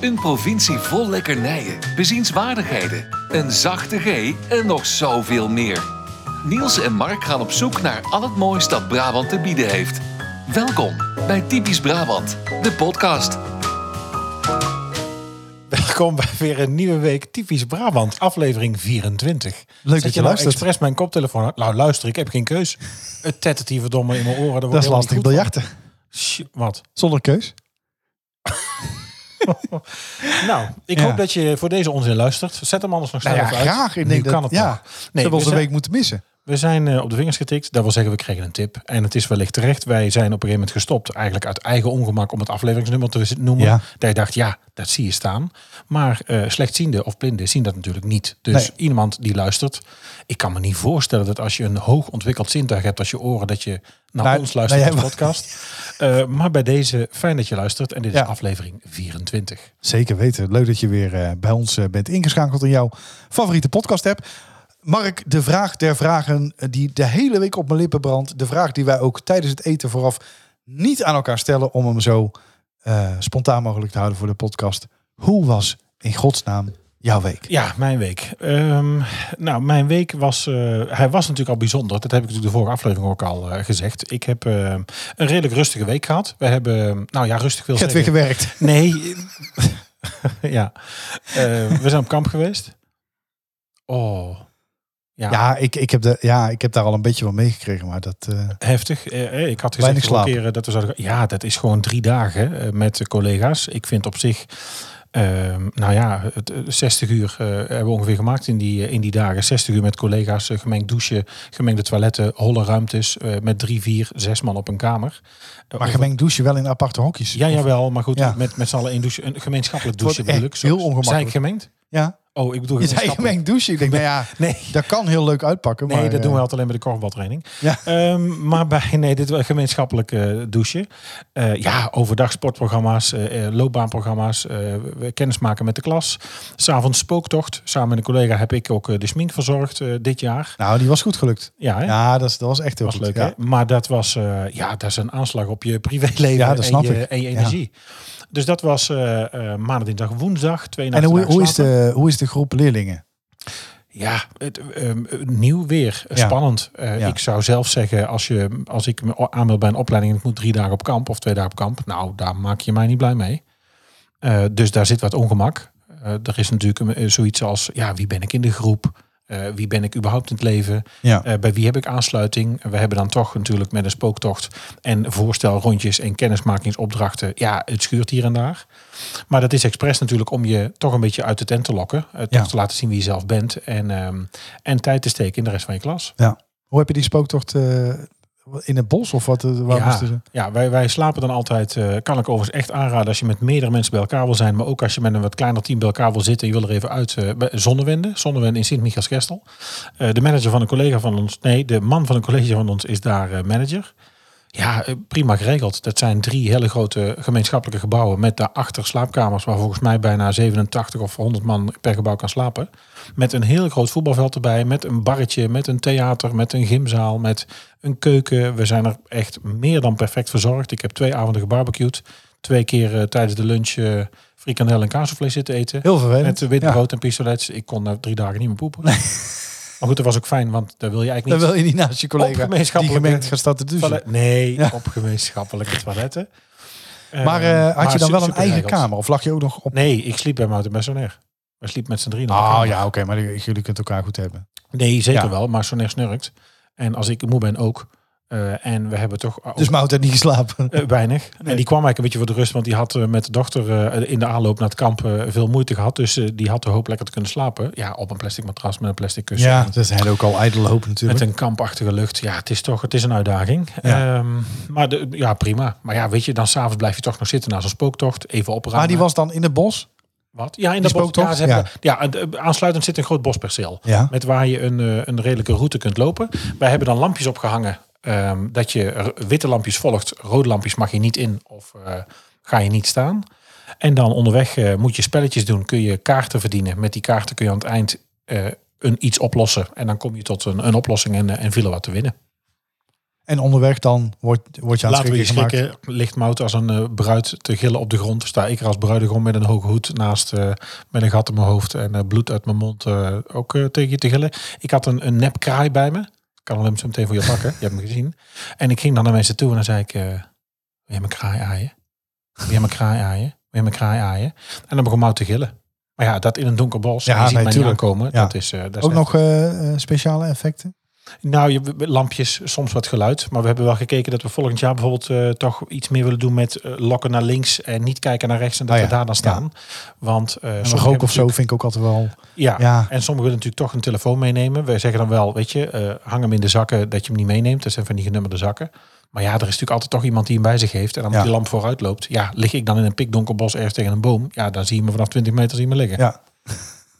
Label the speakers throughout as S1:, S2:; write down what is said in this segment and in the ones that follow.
S1: Een provincie vol lekkernijen, bezienswaardigheden, een zachte G en nog zoveel meer. Niels en Mark gaan op zoek naar al het moois dat Brabant te bieden heeft. Welkom bij Typisch Brabant, de podcast.
S2: Welkom bij weer een nieuwe week Typisch Brabant, aflevering 24.
S3: dat
S2: Zet
S3: je
S2: nou
S3: luistert.
S2: expres mijn koptelefoon uit? Nou, luister, ik heb geen keus. Het tettert hier verdomme in mijn oren.
S3: Dat is lastig.
S2: ja.
S3: Biljarten.
S2: Wat?
S3: Zonder keus.
S2: Nou, ik
S3: Ja.
S2: hoop dat je voor deze onzin luistert. Zet hem anders nog snel
S3: Nou ja,
S2: even uit.
S3: graag. Ik
S2: Nu
S3: denk dat,
S2: kan het
S3: ja,
S2: nog.
S3: ze
S2: Nee,
S3: hebben
S2: we
S3: onze
S2: zijn,
S3: week moeten missen.
S2: we zijn eh, op de vingers getikt. Dat wil zeggen, we kregen een tip. En het is wellicht terecht. Wij zijn op een gegeven moment gestopt. Eigenlijk uit eigen ongemak om het afleveringsnummer te noemen.
S3: Ja.
S2: Dat je dacht, ja, dat zie je staan. Maar eh, slechtzienden of blinden zien dat natuurlijk niet. Dus
S3: Nee.
S2: iemand die luistert. Ik kan me niet voorstellen dat als je een hoog ontwikkeld zintuig hebt als je oren, dat je naar
S3: Nou,
S2: ons luistert
S3: nou,
S2: als
S3: jij-
S2: podcast. Eh, maar bij deze, fijn dat je luistert. En dit is
S3: Ja.
S2: aflevering 24.
S3: Zeker weten. Leuk dat je weer eh, bij ons eh, bent ingeschakeld in jouw favoriete podcast app. Mark, de vraag der vragen eh, die de hele week op mijn lippen brandt. De vraag die wij ook tijdens het eten vooraf niet aan elkaar stellen om hem zo eh, spontaan mogelijk te houden voor de podcast. Hoe was in godsnaam jouw week?
S2: Ja, mijn week. Ehm, nou, mijn week was... eh, hij was natuurlijk al bijzonder. Dat heb ik natuurlijk de vorige aflevering ook al eh, gezegd. Ik heb eh, een redelijk rustige week gehad. We hebben... eh, Nou ja, rustig wil
S3: Je hebt weer
S2: zeggen...
S3: gewerkt.
S2: Nee. ja. Eh, we zijn op kamp geweest. Oh. Ja,
S3: Ja ik, ik heb de, ja, ik heb daar al een beetje van meegekregen, maar dat... eh,
S2: heftig. Eh, eh, ik had gezegd
S3: Weinig
S2: vorige
S3: slaap.
S2: keer, eh, dat we zouden... Ja, dat is gewoon drie dagen eh, met de collega's. Ik vind op zich... ehm, nou ja, het, eh, 60 uur eh, hebben we ongeveer gemaakt in die, eh, in die dagen. 60 uur met collega's, eh, gemengd douchen, gemengde toiletten, holle ruimtes. eh, met drie, vier, zes man op een kamer. Eh,
S3: maar gemengd douche wel in aparte hokjes.
S2: ja, jawel, maar goed,
S3: Ja.
S2: met, met z'n allen één douche. Een gemeenschappelijk
S3: wordt
S2: douchen bedoel ik.
S3: echt
S2: soms.
S3: heel ongemakkelijk.
S2: Zijn ik gemengd?
S3: ja.
S2: Oh, ik bedoel
S3: Je zei
S2: gemeenschappelijk.
S3: gemengd douchen. Ik denk, nou ja,
S2: Nee.
S3: dat kan heel leuk uitpakken.
S2: Nee,
S3: maar,
S2: dat
S3: eh,
S2: doen we altijd alleen bij de korfbaltraining.
S3: Ja.
S2: Ehm, maar bij nee, dit wel gemeenschappelijk eh, douchen. Eh, ja, overdag sportprogramma's, eh, eh, loopbaanprogramma's, eh, we- kennismaken met de klas. S'avonds spooktocht. Samen met een collega heb ik ook eh, de smink verzorgd eh, dit jaar.
S3: Nou, die was goed gelukt.
S2: Ja, hè?
S3: Ja, dat, is- dat was echt heel
S2: was
S3: goed.
S2: leuk.
S3: ja.
S2: hè? Maar dat was, eh, ja, dat is een aanslag op je privéleven
S3: Ja, dat snap
S2: en, je,
S3: ik.
S2: en je
S3: Ja.
S2: energie. Dus dat was eh, eh, maandag, dinsdag, woensdag. Twee
S3: En
S2: nachten
S3: hoe,
S2: daar
S3: hoe, is
S2: geslapen.
S3: de, hoe is de groep leerlingen?
S2: Ja, het, ehm, nieuw weer.
S3: Ja.
S2: Spannend. Eh,
S3: Ja.
S2: Ik zou zelf zeggen, als, je, als ik me aanmeld bij een opleiding en ik moet drie dagen op kamp of twee dagen op kamp, nou, daar maak je mij niet blij mee. Eh, dus daar zit wat ongemak. Eh, er is natuurlijk een- eh, zoiets als, ja, wie ben ik in de groep? Eh, wie ben ik überhaupt in het leven?
S3: Ja.
S2: Eh, bij wie heb ik aansluiting? We hebben dan toch natuurlijk met een spooktocht en voorstelrondjes en kennismakingsopdrachten. Ja, het schuurt hier en daar. Maar dat is expres natuurlijk om je toch een beetje uit de tent te lokken. eh, toch
S3: Ja.
S2: te laten zien wie je zelf bent. En, ehm, en tijd te steken in de rest van je klas.
S3: Hoe heb je die spooktocht eh, in het bos of wat? eh, Waar
S2: ja,
S3: moesten ze?
S2: ja wij, wij slapen dan altijd. eh, kan ik overigens echt aanraden als je met meerdere mensen bij elkaar wil zijn. Maar ook als je met een wat kleiner team bij elkaar wil zitten. En je wil er even uit. eh, bij Zonnewende. Zonnewende in Sint-Michielsgestel. Eh, de manager van een collega van ons. Nee, de man van een collega van ons is daar eh, manager. Ja, eh, prima geregeld. Dat zijn drie hele grote gemeenschappelijke gebouwen met daarachter slaapkamers waar volgens mij bijna 87 of 100 man per gebouw kan slapen. Met een heel groot voetbalveld erbij, met een barretje, met een theater, met een gymzaal, met een keuken. We zijn er echt meer dan perfect verzorgd. Ik heb twee avonden gebarbecued. Twee keer eh, tijdens de lunch eh frikandel en kaasvlees zitten eten.
S3: Heel vervelend.
S2: Met eh, wit
S3: Ja.
S2: brood en pistolets. Ik kon na drie dagen niet meer poepen. Maar goed, dat was ook fijn, want daar wil je eigenlijk
S3: Dan
S2: niet
S3: wil je niet naast je collega die
S2: gemeenschappelijke-
S3: gemengd gaat staan te douchen.
S2: Toilet- nee,
S3: Ja.
S2: op gemeenschappelijke toiletten.
S3: Maar eh,
S2: Ehm,
S3: had je dan
S2: su-
S3: wel een
S2: super
S3: eigen
S2: regels.
S3: kamer? Of lag je ook nog op...
S2: Nee, ik sliep bij Mouten Messonair. We sliepen met z'n drieën. op
S3: Ah
S2: elkaar.
S3: ja, oké, maar jullie jullie kunt elkaar goed hebben.
S2: Nee, zeker
S3: Ja.
S2: wel, maar Sonair snurkt. En als ik moe ben ook. Eh, en we hebben toch ook
S3: Dus Mout had niet geslapen.
S2: eh, weinig. En die kwam eigenlijk een beetje voor de rust, want die had eh, met de dochter eh, in de aanloop naar het kamp eh, veel moeite gehad. Dus eh, die had de hoop lekker te kunnen slapen. Ja, op een plastic matras met een plastic kussen.
S3: ja,
S2: En-
S3: dat zijn ook al ijdele hoop natuurlijk.
S2: Met een kampachtige lucht. Ja, het is toch het is een uitdaging.
S3: Ja.
S2: Ehm, maar de, ja, prima. Maar ja, weet je, dan s'avonds blijf je toch nog zitten na zo'n spooktocht. Even opruimen.
S3: maar die was dan in het bos?
S2: Wat? Ja, in dat
S3: die
S2: bos. Ja,
S3: spooktocht?
S2: ze hebben, ja. eh, aansluitend zit een groot bosperceel.
S3: Ja.
S2: Met waar je een, eh, een redelijke route kunt lopen. Wij hebben dan lampjes opgehangen. ehm, dat je r- witte lampjes volgt. Rode lampjes mag je niet in of eh, ga je niet staan. En dan onderweg eh, moet je spelletjes doen. Kun je kaarten verdienen. Met die kaarten kun je aan het eind eh, een iets oplossen. En dan kom je tot een, een oplossing en, eh, en vielen wat te winnen.
S3: En onderweg dan wordt, wordt je aan het
S2: Laten we je
S3: schrikken gemaakt.
S2: schrikken. Ligt Mout als een eh, bruid te gillen op de grond. Sta ik er als bruidegom met een hoge hoed naast. eh, met een gat in mijn hoofd en eh, bloed uit mijn mond eh, ook eh, tegen je te gillen. Ik had een, een nep kraai bij me. Ik kan hem zo meteen voor je pakken. je hebt me gezien. En ik ging dan naar mensen toe en dan zei ik... eh, wil je mijn kraai aaien? Wil je mijn kraai aaien? Wil je mijn kraai aaien? En dan begon Mout te gillen. Maar ja, dat in een donker bos.
S3: Ja,
S2: Ja, je ziet
S3: nee,
S2: mij niet
S3: tuurlijk.
S2: aankomen.
S3: Ja.
S2: Dat is, eh, dat is
S3: Ook
S2: echt-
S3: nog eh, eh, speciale effecten.
S2: nou, je, lampjes, soms wat geluid. Maar we hebben wel gekeken dat we volgend jaar bijvoorbeeld eh, toch iets meer willen doen met eh, lokken naar links en niet kijken naar rechts en dat
S3: Ah, ja.
S2: we daar dan staan. Want eh
S3: En een
S2: sommigen
S3: rook of zo
S2: hebben
S3: vind ik ook altijd wel.
S2: natuurlijk- Ja.
S3: Ja.
S2: En sommigen willen natuurlijk toch een telefoon meenemen. Wij zeggen dan wel, weet je, eh, hang hem in de zakken dat je hem niet meeneemt. Dat zijn van die genummerde zakken. Maar ja, er is natuurlijk altijd toch iemand die hem bij zich heeft en dan
S3: Ja.
S2: die lamp vooruit loopt. Ja, lig ik dan in een pikdonker bos ergens tegen een boom. Ja, dan zie je me vanaf 20 meter zien me liggen.
S3: Ja,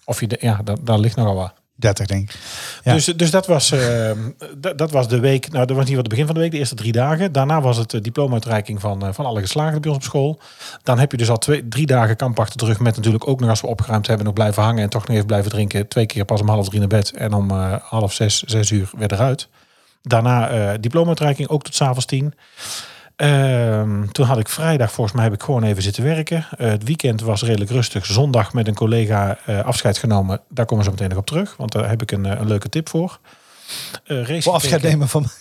S2: Of je, de- ja, da- daar ligt nogal wat.
S3: 30 denk ik. Ja.
S2: Dus, dus dat, was, ehm, d- dat was de week. Nou, dat was niet wat het begin van de week, de eerste drie dagen. Daarna was het eh, diploma-uitreiking van, eh, van alle geslaagden bij ons op school. Dan heb je dus al twee, drie dagen kamp achter de rug. Met natuurlijk ook nog als we opgeruimd hebben, nog blijven hangen en toch nog even blijven drinken. Twee keer pas om half drie naar bed en om eh, half zes, zes uur weer eruit. Daarna eh diploma-uitreiking ook tot s'avonds tien. Ehm, toen had ik vrijdag, volgens mij heb ik gewoon even zitten werken. Eh, het weekend was redelijk rustig. Zondag met een collega eh, afscheid genomen. Daar komen we zo meteen nog op terug, want daar heb ik een, eh, een leuke tip voor. Eh racing
S3: Voor afscheid
S2: taken.
S3: nemen van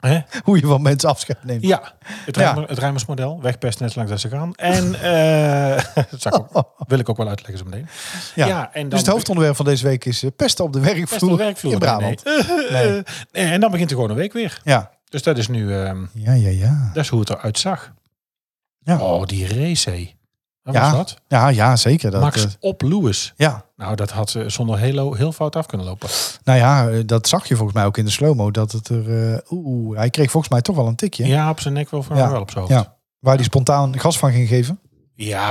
S2: Hè?
S3: hoe je van mensen afscheid neemt.
S2: Ja, het,
S3: Ja.
S2: Rijmers, het Rijmersmodel. Wegpest net zo lang dat ze gaan. En eh, dat
S3: Oh,
S2: zal ik ook- wil ik ook wel uitleggen zo meteen.
S3: Ja.
S2: en dan
S3: dus het hoofdonderwerp van deze week is eh, pesten op de werkvloer,
S2: Pesten op de werkvloer.
S3: in
S2: Nee,
S3: Brabant.
S2: nee. Eh,
S3: Nee.
S2: eh, en dan begint er gewoon een week weer.
S3: Ja.
S2: Dus dat is nu ehm,
S3: ja, ja, ja.
S2: dat is hoe het eruit zag.
S3: Ja.
S2: Oh, die race. hé. Wat
S3: Ja,
S2: was dat?
S3: Ja, ja zeker. Dat,
S2: Max
S3: eh,
S2: op Lewis.
S3: ja,
S2: Nou, dat had ze zonder Halo heel fout af kunnen lopen.
S3: nou ja, eh, dat zag je volgens mij ook in de slow-mo. Dat het er. eh, Oeh, hij kreeg volgens mij toch wel een tikje.
S2: Ja, op zijn nek wel, voor
S3: Ja.
S2: wel op zijn hoofd. Ja.
S3: Ja. Waar hij spontaan gas van ging geven.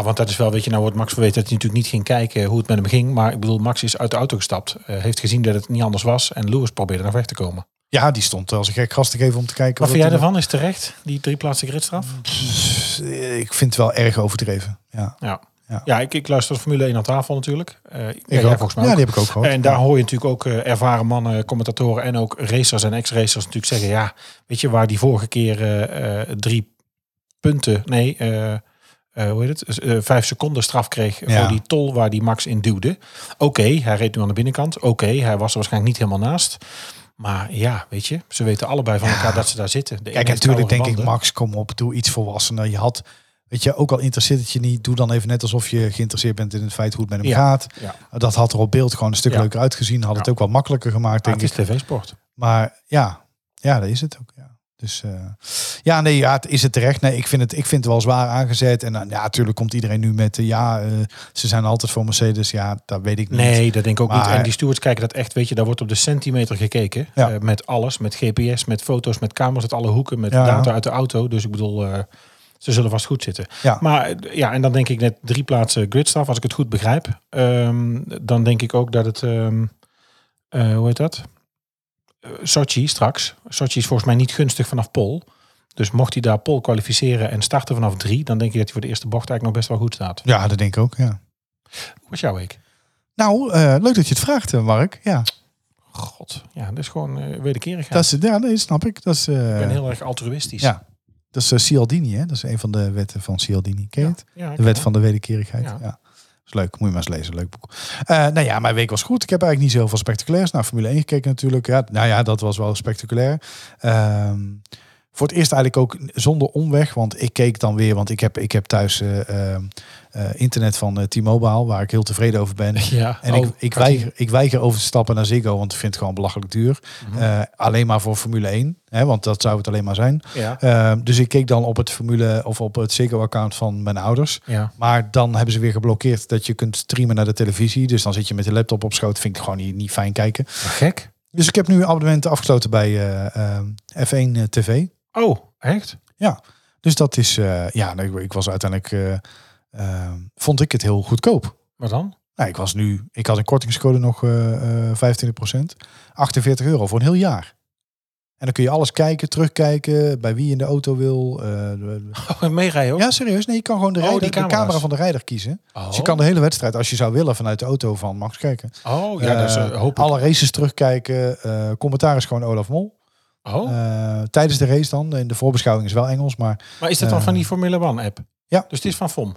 S2: want dat is wel, weet je, nou wordt Max verweten dat hij natuurlijk niet ging kijken hoe het met hem ging. Maar ik bedoel, Max is uit de auto gestapt, eh, heeft gezien dat het niet anders was en Lewis probeerde naar weg te komen.
S3: Ja, die stond als een gek gas te geven om te kijken.
S2: Wat
S3: of
S2: vind jij
S3: dat hij-
S2: ervan? Is terecht, die drie plaatsen gridstraf?
S3: Eh, Ik vind het wel erg overdreven. Ja,
S2: Ja.
S3: Ja.
S2: Ja, ik, ik luister Formule 1 aan tafel natuurlijk. Eh, ja,
S3: Ik
S2: jij
S3: ook.
S2: volgens mij
S3: ja
S2: ook.
S3: die heb ik ook gehoord.
S2: En daar hoor je natuurlijk ook eh, ervaren mannen, commentatoren en ook racers en ex-racers natuurlijk zeggen, ja, weet je, waar die vorige keer eh, eh, drie punten, nee, eh, eh, hoe heet het, Eh, vijf seconden straf kreeg
S3: Ja.
S2: voor die tol waar die Max in duwde. Oké, hij reed nu aan de binnenkant. Oké, hij was er waarschijnlijk niet helemaal naast. Maar ja, weet je, ze weten allebei van elkaar dat ze daar zitten. De
S3: Kijk,
S2: ene heeft
S3: natuurlijk denk
S2: oudere
S3: ik,
S2: banden.
S3: Max, kom op, doe iets volwassener. Je had, weet je, ook al interesseert het je niet, doe dan even net alsof je geïnteresseerd bent in het feit hoe het met hem
S2: Ja.
S3: gaat.
S2: Ja,
S3: Dat had er op beeld gewoon een stuk
S2: Ja.
S3: leuker uitgezien, had het
S2: Ja.
S3: ook wel makkelijker gemaakt,
S2: maar
S3: denk
S2: het
S3: ik.
S2: is tv-sport.
S3: Maar ja, ja, dat is het ook. Ja. Dus eh, ja, nee, ja, het- is het terecht? Nee, ik vind het, ik vind het wel zwaar aangezet. En eh, ja, natuurlijk komt iedereen nu met, eh, ja, eh, ze zijn altijd voor Mercedes. Ja, dat weet ik niet.
S2: Nee, dat denk ik ook niet.
S3: Maar-
S2: En die stewards kijken dat echt, weet je, daar wordt op de centimeter gekeken.
S3: Ja.
S2: Eh, met alles, met GPS, met foto's, met camera's uit alle hoeken, met
S3: Ja.
S2: data uit de auto. Dus ik bedoel, eh, ze zullen vast goed zitten.
S3: Ja.
S2: Maar eh, ja, en dan denk ik net drie plaatsen gridstraf, als ik het goed begrijp. Ehm, dan denk ik ook dat het, ehm, eh, hoe heet dat? Eh, Sochi straks. Sochi is volgens mij niet gunstig vanaf Pol. Dus mocht hij daar Pol kwalificeren en starten vanaf drie, dan denk ik dat hij voor de eerste bocht eigenlijk nog best wel goed staat.
S3: Ja, dat denk ik ook, ja.
S2: Hoe was jouw week?
S3: Nou, eh, leuk dat je het vraagt, eh, Mark. Ja,
S2: God, ja, dat is gewoon eh, wederkerigheid.
S3: dat is, ja nee, snap ik. Dat is, eh,
S2: Ik ben heel erg altruïstisch.
S3: Ja, Dat is eh, Cialdini, hè? Dat is een van de wetten van Cialdini. Ken je het?
S2: Ja, ik
S3: De
S2: wel.
S3: wet van de wederkerigheid. Ja.
S2: Ja.
S3: Dat is leuk. Moet je maar eens lezen. Leuk boek. Eh, nou ja, mijn week was goed. Ik heb eigenlijk niet zo heel veel spectaculairs. Naar Formule 1 gekeken natuurlijk. Ja, nou ja, dat was wel spectaculair. Ehm, voor het eerst eigenlijk ook zonder omweg. Want ik keek dan weer. Want ik heb, ik heb thuis eh, ehm, eh, internet van eh, T-Mobile. Waar ik heel tevreden over ben.
S2: Ja,
S3: En
S2: oh,
S3: ik, ik,
S2: had hij-
S3: weiger, ik weiger over te stappen naar Ziggo. Want ik vind het gewoon belachelijk duur. Eh, alleen maar voor Formule 1. Hè, want dat zou het alleen maar zijn.
S2: Ja.
S3: Eh, dus ik keek dan op het formule of op het Ziggo-account van mijn ouders.
S2: ja.
S3: Maar dan hebben ze weer geblokkeerd dat je kunt streamen naar de televisie. Dus dan zit je met de laptop op schoot. Vind ik gewoon niet, niet fijn kijken.
S2: Gek.
S3: Dus ik heb nu abonnementen afgesloten bij eh, eh, F1 TV.
S2: Oh, echt?
S3: Dus dat is, eh, ja, nou, ik, ik was uiteindelijk, eh, eh, vond ik het heel goedkoop.
S2: Wat dan?
S3: Nou, ik was nu, ik had een kortingscode nog eh, eh, 25%. 48 euro voor een heel jaar. En dan kun je alles kijken, terugkijken, bij wie je in de auto wil. eh,
S2: Oh, meerijden ook?
S3: Ja, serieus. Nee, je kan gewoon de,
S2: Oh,
S3: rijder-
S2: die
S3: de camera
S2: camera's.
S3: van de rijder kiezen.
S2: Oh,
S3: Dus je kan de hele wedstrijd, als je zou willen, vanuit de auto van Max kijken.
S2: oh ja, dat is,
S3: Eh,
S2: eh, hoop ik.
S3: Alle races terugkijken. eh commentaar is gewoon Olaf Mol.
S2: Oh,
S3: Eh, tijdens de race dan. In de voorbeschouwing is wel Engels, maar
S2: maar is dat dan
S3: eh,
S2: van die Formule 1 app?
S3: ja.
S2: Dus het is van FOM.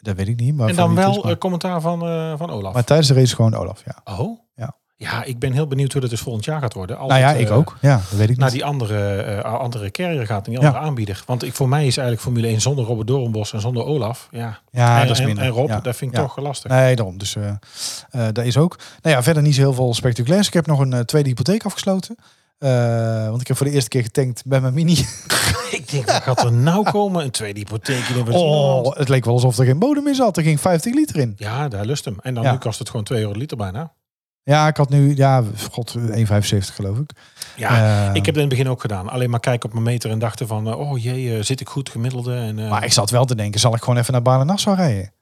S3: dat weet ik niet. Maar
S2: en
S3: van
S2: dan
S3: die
S2: wel
S3: toespraak.
S2: eh, commentaar van, eh, van Olaf.
S3: maar tijdens de race gewoon Olaf, ja.
S2: oh?
S3: Ja.
S2: Ja, ik ben heel benieuwd hoe dat dus volgend jaar gaat worden. Als
S3: nou ja,
S2: het,
S3: ik
S2: eh,
S3: ook. Ja, dat weet ik
S2: Naar
S3: niet.
S2: die andere, eh, andere carrier gaat, en die andere aanbieder. Want ik, voor mij is eigenlijk Formule 1 zonder Robert Doornbos en zonder Olaf. Ja,
S3: ja,
S2: en,
S3: Ah, dat is
S2: en-
S3: minder.
S2: en Rob,
S3: ja.
S2: dat vind ik
S3: ja.
S2: toch lastig.
S3: Nee, daarom. Dus eh eh, dat is ook. Nou ja, verder niet zo heel veel spectaculairs. Ik heb nog een eh, tweede hypotheek afgesloten. Eh, want ik heb voor de eerste keer getankt bij mijn mini.
S2: Ik denk, wat gaat er nou komen? Een tweede hypotheek in een
S3: Oh, het leek wel alsof er geen bodem in zat. Er ging 50 liter in.
S2: Ja, daar lust hem. En dan
S3: Ja.
S2: nu kost het gewoon 2 euro de liter bijna.
S3: Ja, ik had nu, ja, god, 1,75 geloof ik.
S2: Ja,
S3: Eh,
S2: ik heb dat in het begin ook gedaan. Alleen maar kijken op mijn meter en dachten van... eh, oh jee, eh, zit ik goed gemiddelde? En, eh,
S3: Maar ik zat wel te denken, zal ik gewoon even naar Balen Nassau rijden?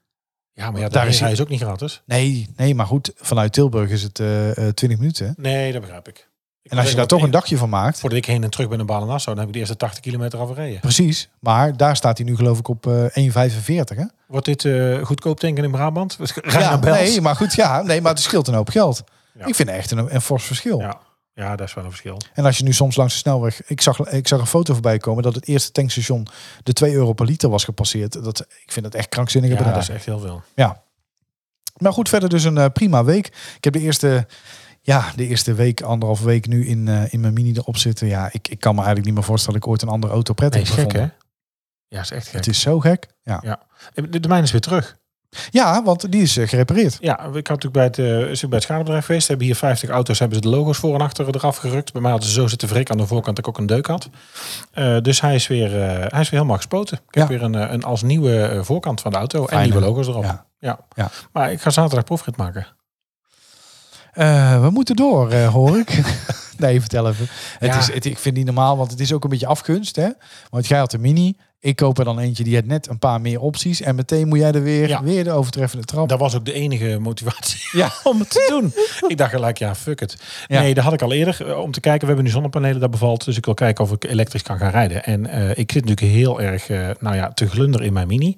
S2: ja, maar ja,
S3: daar
S2: daar
S3: is
S2: is
S3: hij-
S2: hij is ook niet gratis.
S3: Nee, nee, maar goed, vanuit Tilburg is het eh, eh, 20 minuten. hè?
S2: Nee, dat begrijp ik. Ik
S3: En
S2: was
S3: als je
S2: even
S3: daar
S2: op
S3: toch
S2: één-
S3: een dagje van maakt,
S2: Voordat ik heen en terug ben naar Balen Nassau... dan heb ik de eerste 80 kilometer afgereden.
S3: precies. Maar daar staat hij nu geloof ik op eh, 1,45 hè?
S2: Wordt dit eh, goedkoop tanken in Brabant? Rij
S3: ja,
S2: naar Bels.
S3: nee, maar goed, ja, nee, maar het scheelt een hoop geld.
S2: Ja.
S3: Ik vind echt een, een fors verschil.
S2: ja. ja, dat is wel een verschil.
S3: En als je nu soms langs de snelweg, ik zag, ik zag een foto voorbij komen dat het eerste tankstation de 2 euro per liter was gepasseerd. Dat, ik vind dat echt krankzinnige
S2: Ja, dat
S3: bedragen.
S2: is echt heel veel.
S3: Ja. Maar goed, verder dus een eh, prima week. Ik heb de eerste, ja, de eerste week, anderhalf week nu in, eh, in mijn mini erop zitten. Ja, ik, ik kan me eigenlijk niet meer voorstellen dat ik ooit een andere auto prettig
S2: Nee, is gek,
S3: gevonden.
S2: hè? Ja, is echt
S3: Het
S2: gek. Eh,
S3: is zo gek. Ja,
S2: De, de mijn is weer terug.
S3: ja want die is eh, gerepareerd.
S2: Ja, ik had natuurlijk bij het, eh, is ook bij het schadebedrijf geweest. Hebben hier 50 auto's, hebben ze de logo's voor en achter eraf gerukt. Bij mij hadden ze zo zitten wrikken aan de voorkant dat ik ook een deuk had. Eh, dus hij is, weer, eh, hij is weer helemaal gespoten. Ik heb
S3: Ja.
S2: weer een, eh, een als nieuwe eh, voorkant van de auto
S3: Fijn,
S2: en nieuwe
S3: hè?
S2: logo's erop. Ja.
S3: Ja. Ja.
S2: Maar ik ga zaterdag proefrit maken.
S3: Eh, we moeten door, eh, hoor ik. nee, vertel even. Het
S2: Ja.
S3: is, het, ik vind het niet normaal, want het is ook een beetje afgunst. Hè? Want jij had een mini. Ik koop er dan eentje die had net een paar meer opties. En meteen moet jij er weer,
S2: Ja.
S3: weer de overtreffende trap.
S2: Dat was ook de enige motivatie
S3: Ja.
S2: om het te doen. Ik dacht gelijk, ja, fuck het.
S3: Ja.
S2: Nee, dat had ik al eerder eh, om te kijken. We hebben nu zonnepanelen, dat bevalt. Dus ik wil kijken of ik elektrisch kan gaan rijden. En eh, ik zit natuurlijk heel erg, eh, nou ja, te glunder in mijn mini.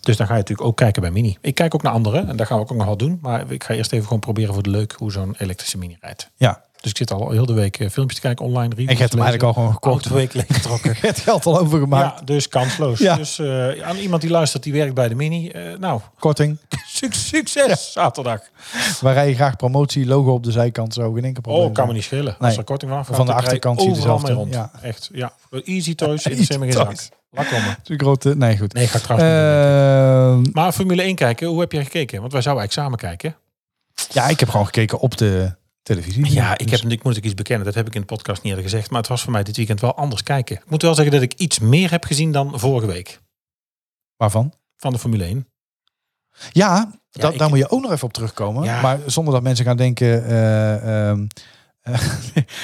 S2: Dus dan ga je natuurlijk ook kijken bij mini. Ik kijk ook naar anderen en daar gaan we ook nog wat doen. Maar ik ga eerst even gewoon proberen voor de leuk hoe zo'n elektrische mini rijdt.
S3: Ja.
S2: Dus ik zit al heel de week eh, filmpjes te kijken online.
S3: En je hebt hem eigenlijk al gewoon gekocht.
S2: week leeg getrokken.
S3: Het geld al overgemaakt.
S2: Ja, dus kansloos.
S3: Ja.
S2: Dus eh, aan iemand die luistert, die werkt bij de mini. eh, nou,
S3: Korting.
S2: suc- succes zaterdag.
S3: Wij rijden graag promotie, logo op de zijkant, zo geen enkel probleem.
S2: Oh, kan me niet schelen.
S3: Nee.
S2: Als er korting van
S3: Van de achterkant zie je
S2: overal
S3: dezelfde,
S2: mee rond.
S3: ja.
S2: Echt, ja. Easy toys, in
S3: Easy
S2: de geen zak.
S3: toys.
S2: Laat komen.
S3: De grote, nee goed.
S2: Nee, ga ik trouwens niet doen.
S3: Ehm,
S2: Maar Formule 1 kijken, hoe heb jij gekeken? Want wij zouden eigenlijk samen kijken.
S3: ja, ik heb gewoon gekeken op de televisie.
S2: Ja, ik,
S3: Dus-
S2: heb, ik moet ook iets bekennen. Dat heb ik in de podcast niet eerder gezegd. Maar het was voor mij dit weekend wel anders kijken. Ik moet wel zeggen dat ik iets meer heb gezien dan vorige week.
S3: Waarvan?
S2: Van de Formule 1.
S3: Ja, dat,
S2: ik-
S3: daar moet je ook nog even op terugkomen.
S2: Ja.
S3: Maar zonder dat mensen gaan denken... eh, ehm,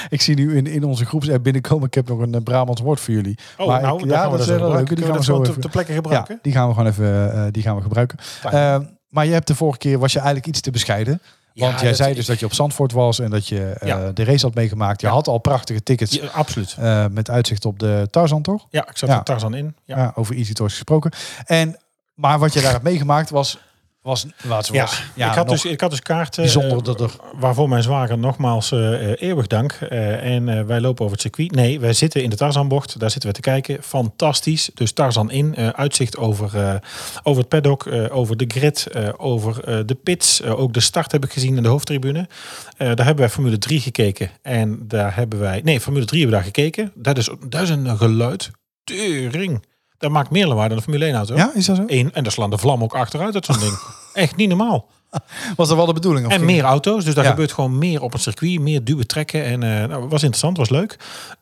S3: ik zie nu in, in onze groepsapp binnenkomen. Ik heb nog een eh, Brabants woord voor jullie.
S2: Oh,
S3: Maar
S2: nou,
S3: ik-
S2: daar
S3: ja,
S2: gaan we
S3: dat
S2: dus
S3: is wel leuk. Die
S2: Kunnen
S3: gaan
S2: we
S3: we
S2: dat
S3: zo
S2: gewoon
S3: even-
S2: te, te plekke gebruiken?
S3: Ja, die gaan we gewoon even, eh, die gaan we gebruiken.
S2: Fijn.
S3: Ehm, maar je hebt de vorige keer, was je eigenlijk iets te bescheiden.
S2: Ja,
S3: Want jij
S2: dat-
S3: zei dus dat je op Zandvoort was en dat je eh,
S2: Ja.
S3: de race had meegemaakt. Je
S2: Ja.
S3: had al prachtige tickets
S2: Ja, absoluut.
S3: eh, met uitzicht op de Tarzan, toch?
S2: Ja, ik zat
S3: Ja.
S2: er Tarzan in. Ja.
S3: Ja. Ah, over Easy Toys gesproken. En, maar wat je daar hebt meegemaakt was... was, was,
S2: Ja,
S3: was
S2: ik, had
S3: nog
S2: dus, ik had dus kaarten.
S3: bijzonder
S2: eh,
S3: dat er...
S2: Waarvoor mijn zwager nogmaals eh, eh, eeuwig dank. Eh, en eh, wij lopen over het circuit. Nee, wij zitten in de Tarzanbocht. Daar zitten we te kijken. Fantastisch. Dus Tarzan in. eh, uitzicht over, eh, over het paddock, eh, over de grid, eh, over eh, de pits. Eh, ook de start heb ik gezien in de hoofdtribune. Eh, daar hebben wij Formule 3 gekeken. En daar hebben wij... Nee, Formule 3 hebben we daar gekeken. Dat is, dat is een geluid. Tering. Dat maakt meer lawaai dan een Formule 1 auto.
S3: Ja, is dat zo?
S2: Eén, en daar slaan de vlam ook achteruit uit zo'n ding. Echt niet normaal.
S3: Was dat wel de bedoeling? of
S2: En
S3: ging-
S2: meer auto's, dus daar
S3: Ja.
S2: gebeurt gewoon meer op het circuit, meer duwen trekken. En eh, nou, was interessant, was leuk.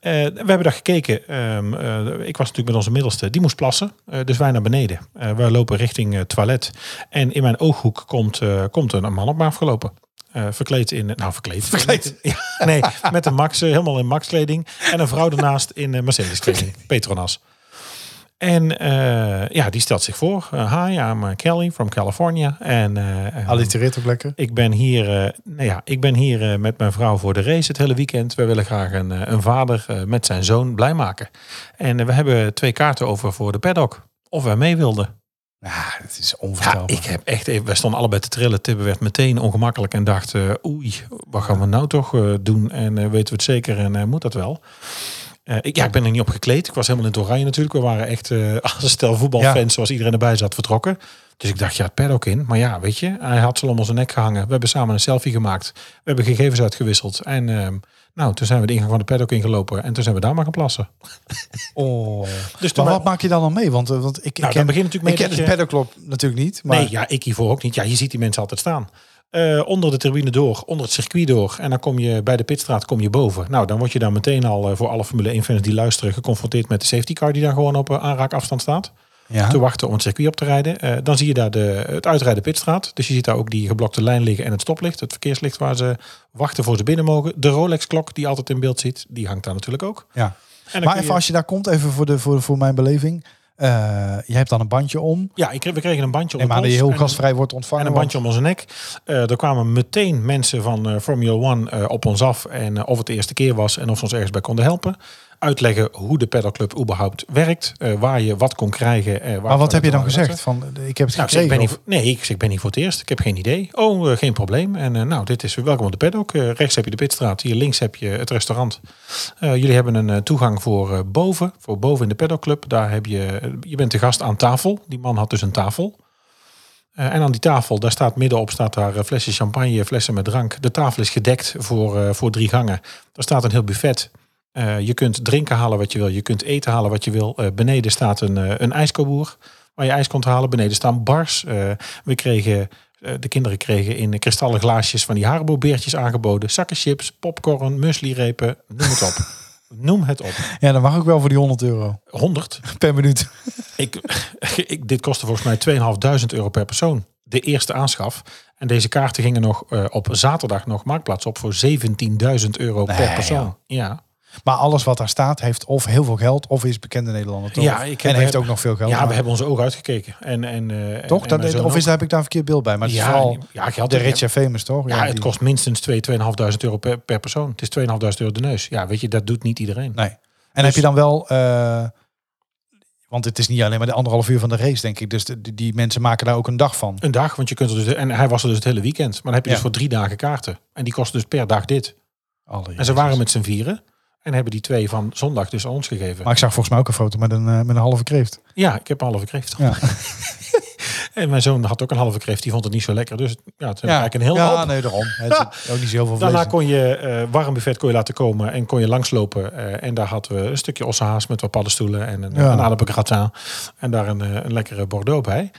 S2: Eh, we hebben daar gekeken. Ehm, eh, ik was natuurlijk met onze middelste, die moest plassen. Eh, dus wij naar beneden. Eh, wij lopen richting eh, toilet. En in mijn ooghoek komt, eh, komt een man op me afgelopen. Eh, verkleed in, nou verkleed.
S3: Verkleed.
S2: Ja, nee, met een Max, eh, helemaal in Max kleding. En een vrouw daarnaast in eh, Mercedes kleding, Petronas. En eh, ja, die stelt zich voor. Eh, hi, I'm eh, Kelly from California. En eh,
S3: Allitereert ook lekker.
S2: ik ben hier, eh, nou ja, ik ben hier eh, met mijn vrouw voor de race het hele weekend. We willen graag een, eh, een vader eh, met zijn zoon blij maken. En eh, we hebben twee kaarten over voor de paddock. Of wij mee wilden.
S3: Ja, het is
S2: Ja,
S3: onvoorstelbaar.
S2: ik heb echt even, wij stonden allebei te trillen. Tibbe werd meteen ongemakkelijk en dacht, eh, oei, wat gaan we nou toch eh, doen? En eh, weten we het zeker en eh, moet dat wel? Eh, ik, ja, ik ben er niet op gekleed. Ik was helemaal in het oranje natuurlijk. We waren echt eh, als een stel voetbalfans,
S3: Ja.
S2: zoals iedereen erbij zat, vertrokken. Dus ik dacht, ja, het pad ook in. Maar ja, weet je, hij had ze om onze nek gehangen. We hebben samen een selfie gemaakt. We hebben gegevens uitgewisseld. En ehm, nou, toen zijn we de ingang van de paddock ingelopen. En toen zijn we daar maar gaan plassen.
S3: Oh.
S2: Dus
S3: Maar
S2: toen
S3: wat maak je dan dan mee? Want, eh, want ik,
S2: Nou,
S3: ik
S2: dan
S3: ken,
S2: begint natuurlijk mee
S3: ik ken
S2: dat
S3: de
S2: je-
S3: paddockclub natuurlijk niet. Maar
S2: Nee, ja, ik hiervoor ook niet. Ja, je ziet die mensen altijd staan. Eh, onder de tribune door, onder het circuit door. En dan kom je bij de pitstraat kom je boven. Nou, dan word je daar meteen al eh, voor alle Formule 1 fans die luisteren... geconfronteerd met de safety car die daar gewoon op eh, aanraakafstand staat.
S3: ja.
S2: Te wachten om het circuit op te rijden. Eh, dan zie je daar de, het uitrijden pitstraat. Dus je ziet daar ook die geblokte lijn liggen en het stoplicht. Het verkeerslicht waar ze wachten voor ze binnen mogen. De Rolex-klok die je altijd in beeld ziet, die hangt daar natuurlijk ook.
S3: ja.
S2: En dan kun
S3: Maar
S2: je-
S3: even als je daar komt, even voor, de, voor, voor mijn beleving. Eh, je hebt dan een bandje om.
S2: Ja, ik kreeg- we kregen een bandje om
S3: En maar
S2: ons
S3: dat je heel
S2: en een-
S3: gastvrij wordt ontvangen.
S2: En een bandje om onze nek. Eh, er kwamen meteen mensen van eh, Formula One eh, op ons af. En eh, of het de eerste keer was en of ze ons ergens bij konden helpen. Uitleggen hoe de pedalclub überhaupt werkt. eh, waar je wat kon krijgen. eh, waar
S3: want- maar wat
S2: waar
S3: heb je dan
S2: waar-
S3: gezegd? Van, eh, ik heb het
S2: Nou, ik zeg, ik
S3: gekregen.
S2: ben niet,
S3: of-
S2: voor- nee, ik, zeg, ik ben hier voor het eerst. Ik heb geen idee. Oh, eh, geen probleem. En eh, nou, dit is welkom op de paddock. Eh, rechts heb je de pitstraat. Hier links heb je het restaurant. Eh, jullie hebben een eh, toegang voor eh, boven. Voor boven in de paddockclub. Daar heb je... eh, Je bent de gast aan tafel. Die man had dus een tafel. Eh, en aan die tafel, daar staat middenop, staat daar eh, flessen champagne, flessen met drank. De tafel is gedekt voor, eh, voor drie gangen. Daar staat een heel buffet. Eh, je kunt drinken halen wat je wil. Je kunt eten halen wat je wil. Eh, beneden staat een, eh een ijskoboer waar je ijs kon halen. Beneden staan bars. Eh, we kregen, eh, de kinderen kregen in kristallen glaasjes van die Haribo beertjes aangeboden. Zakken chips, popcorn, mueslirepen, noem het op. noem het op.
S3: Ja, dat mag ook wel voor die 100 euro
S2: 100.
S3: per minuut.
S2: Ik, ik, dit kostte volgens mij 2.500 euro per persoon. De eerste aanschaf. En deze kaarten gingen nog eh, op zaterdag nog marktplaats op voor 17.000 euro per
S3: Nee,
S2: persoon.
S3: joh.
S2: Ja.
S3: Maar alles wat daar staat heeft of heel veel geld of is bekende Nederlander toch?
S2: Ja, ik heb-
S3: en heeft ook nog veel geld.
S2: ja, we
S3: Maar-
S2: hebben onze ogen uitgekeken. En, en, eh,
S3: toch?
S2: en
S3: Dat,
S2: mijn zoon
S3: of
S2: ook.
S3: is, daar heb ik daar een verkeerd beeld bij. Maar het is
S2: Ja,
S3: vooral
S2: ja, geld
S3: de
S2: heb-
S3: rich en famous toch?
S2: Ja, het
S3: die-
S2: kost minstens 2.500 euro per, per persoon. Het is 2.500 euro de neus. Ja, weet je, dat doet niet iedereen.
S3: Nee. En heb
S2: Dus-
S3: je dan wel... eh, want het is niet alleen maar de anderhalf uur van de race, denk ik. Dus de- die, die mensen maken daar ook een dag van.
S2: Een dag, want je kunt er dus... En hij was er dus het hele weekend. Maar dan heb je dus
S3: Ja.
S2: voor drie dagen kaarten. En die kosten dus per dag dit.
S3: Alle
S2: En ze waren met z'n vieren. En hebben die twee van zondag dus aan ons gegeven.
S3: Maar ik zag volgens mij ook een foto met een, eh, met een halve kreeft.
S2: Ja, ik heb een halve kreeft.
S3: Ja.
S2: en mijn zoon had ook een halve kreeft. Die vond het niet zo lekker. Dus ja, het is eigenlijk een heel
S3: ja,
S2: hoop.
S3: nee, daarom. Het is ook niet zo heel veel vlees.
S2: Daarna
S3: in.
S2: kon je eh warm buffet kon je laten komen en kon je langslopen. eh, en daar hadden we een stukje ossehaas met wat paddenstoelen en een,
S3: Ja.
S2: een aardappelgratin. En daar een, eh, een lekkere bordeaux bij.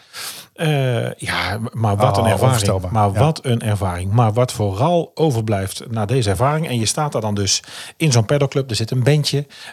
S2: Eh, ja, maar wat
S3: Oh,
S2: een ervaring.
S3: onvoorstelbaar.
S2: Maar
S3: Ja.
S2: wat een ervaring. Maar wat vooral overblijft na deze ervaring. En je staat daar dan dus in zo'n pedalclub. Er zit een bandje.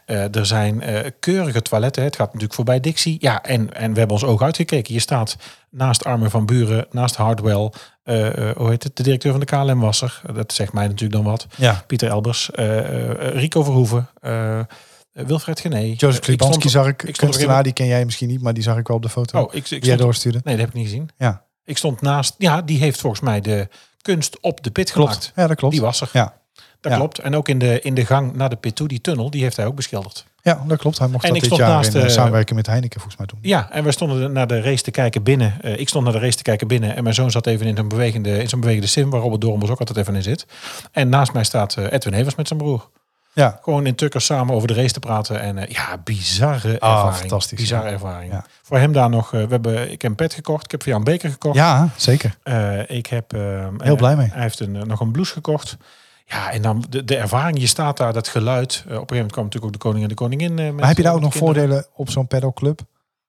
S2: eh, er zijn eh, keurige toiletten. Het gaat natuurlijk voorbij Dixie. Ja, en, en we hebben ons oog uitgekeken. Je staat naast Armin van Buren, naast Hardwell. eh, eh, hoe heet het? De directeur van de KLM was er. Dat zegt mij natuurlijk dan wat.
S3: Ja.
S2: Pieter Elbers, eh, eh, Rico Verhoeven, eh, eh, Wilfred Gené.
S3: Joseph
S2: Eh, ik stond-
S3: Klibanski zag ik.
S2: ik stond er
S3: kunstenaar, die ken jij misschien niet, maar die zag ik wel op de foto.
S2: Oh, ik, ik
S3: die jij
S2: stond,
S3: doorstuurde.
S2: nee, dat heb ik niet gezien.
S3: Ja,
S2: Ik stond naast, ja, die heeft volgens mij de kunst op de pit gemaakt.
S3: klopt. Ja, dat klopt.
S2: Die was er.
S3: Ja.
S2: Dat
S3: Ja.
S2: klopt. En ook in de, in de gang naar de pit toe, die tunnel, die heeft hij ook beschilderd.
S3: ja, dat klopt. Hij mocht
S2: En
S3: dat
S2: ik
S3: dit
S2: stond
S3: jaar
S2: naast,
S3: in eh,
S2: eh,
S3: samenwerking met Heineken volgens mij doen.
S2: Ja, en we stonden er- naar de race te kijken binnen. Eh, ik stond naar de race te kijken binnen. En mijn zoon zat even in zo'n bewegende, in zo'n bewegende sim, waar Robert Dormers ook altijd even in zit. En naast mij staat eh, Edwin Hevers met zijn broer.
S3: Ja,
S2: Gewoon in tukkers samen over de race te praten. En eh, ja, bizarre
S3: Ah,
S2: ervaring.
S3: fantastisch,
S2: Bizarre
S3: ja.
S2: ervaring.
S3: Ja.
S2: Voor hem daar nog... eh, we hebben, ik heb een pet gekocht. Ik heb voor jou een beker gekocht.
S3: ja zeker.
S2: Eh, ik heb... eh,
S3: Heel
S2: eh,
S3: blij mee.
S2: Hij heeft een, eh, nog een blouse gekocht. Ja, en dan de, de ervaring. Je staat daar, dat geluid. Eh, op een gegeven moment kwam natuurlijk ook de koning en de koningin. eh, met,
S3: Maar heb je daar ook
S2: eh,
S3: nog
S2: met kinderen.
S3: voordelen op zo'n pedalclub?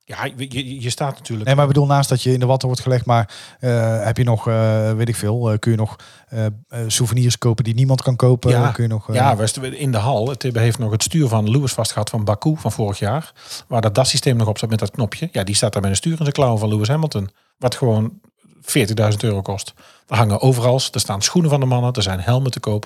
S2: Ja, je, je, je staat natuurlijk...
S3: Nee, maar ik bedoel, naast dat je in de watten wordt gelegd, maar eh, heb je nog, eh, weet ik veel, eh, kun je nog eh, eh, souvenirs kopen die niemand kan kopen?
S2: Ja.
S3: Kun je nog, eh,
S2: Ja, we stonden in de hal. Tibbe heeft nog het stuur van Lewis vastgehad van Baku van vorig jaar. Waar dat DAS-systeem nog op zat met dat knopje. Ja, die staat daar met een stuur in zijn klauwen van Lewis Hamilton. Wat gewoon 40.000 euro kost. Er hangen overal, er staan schoenen van de mannen, er zijn helmen te koop.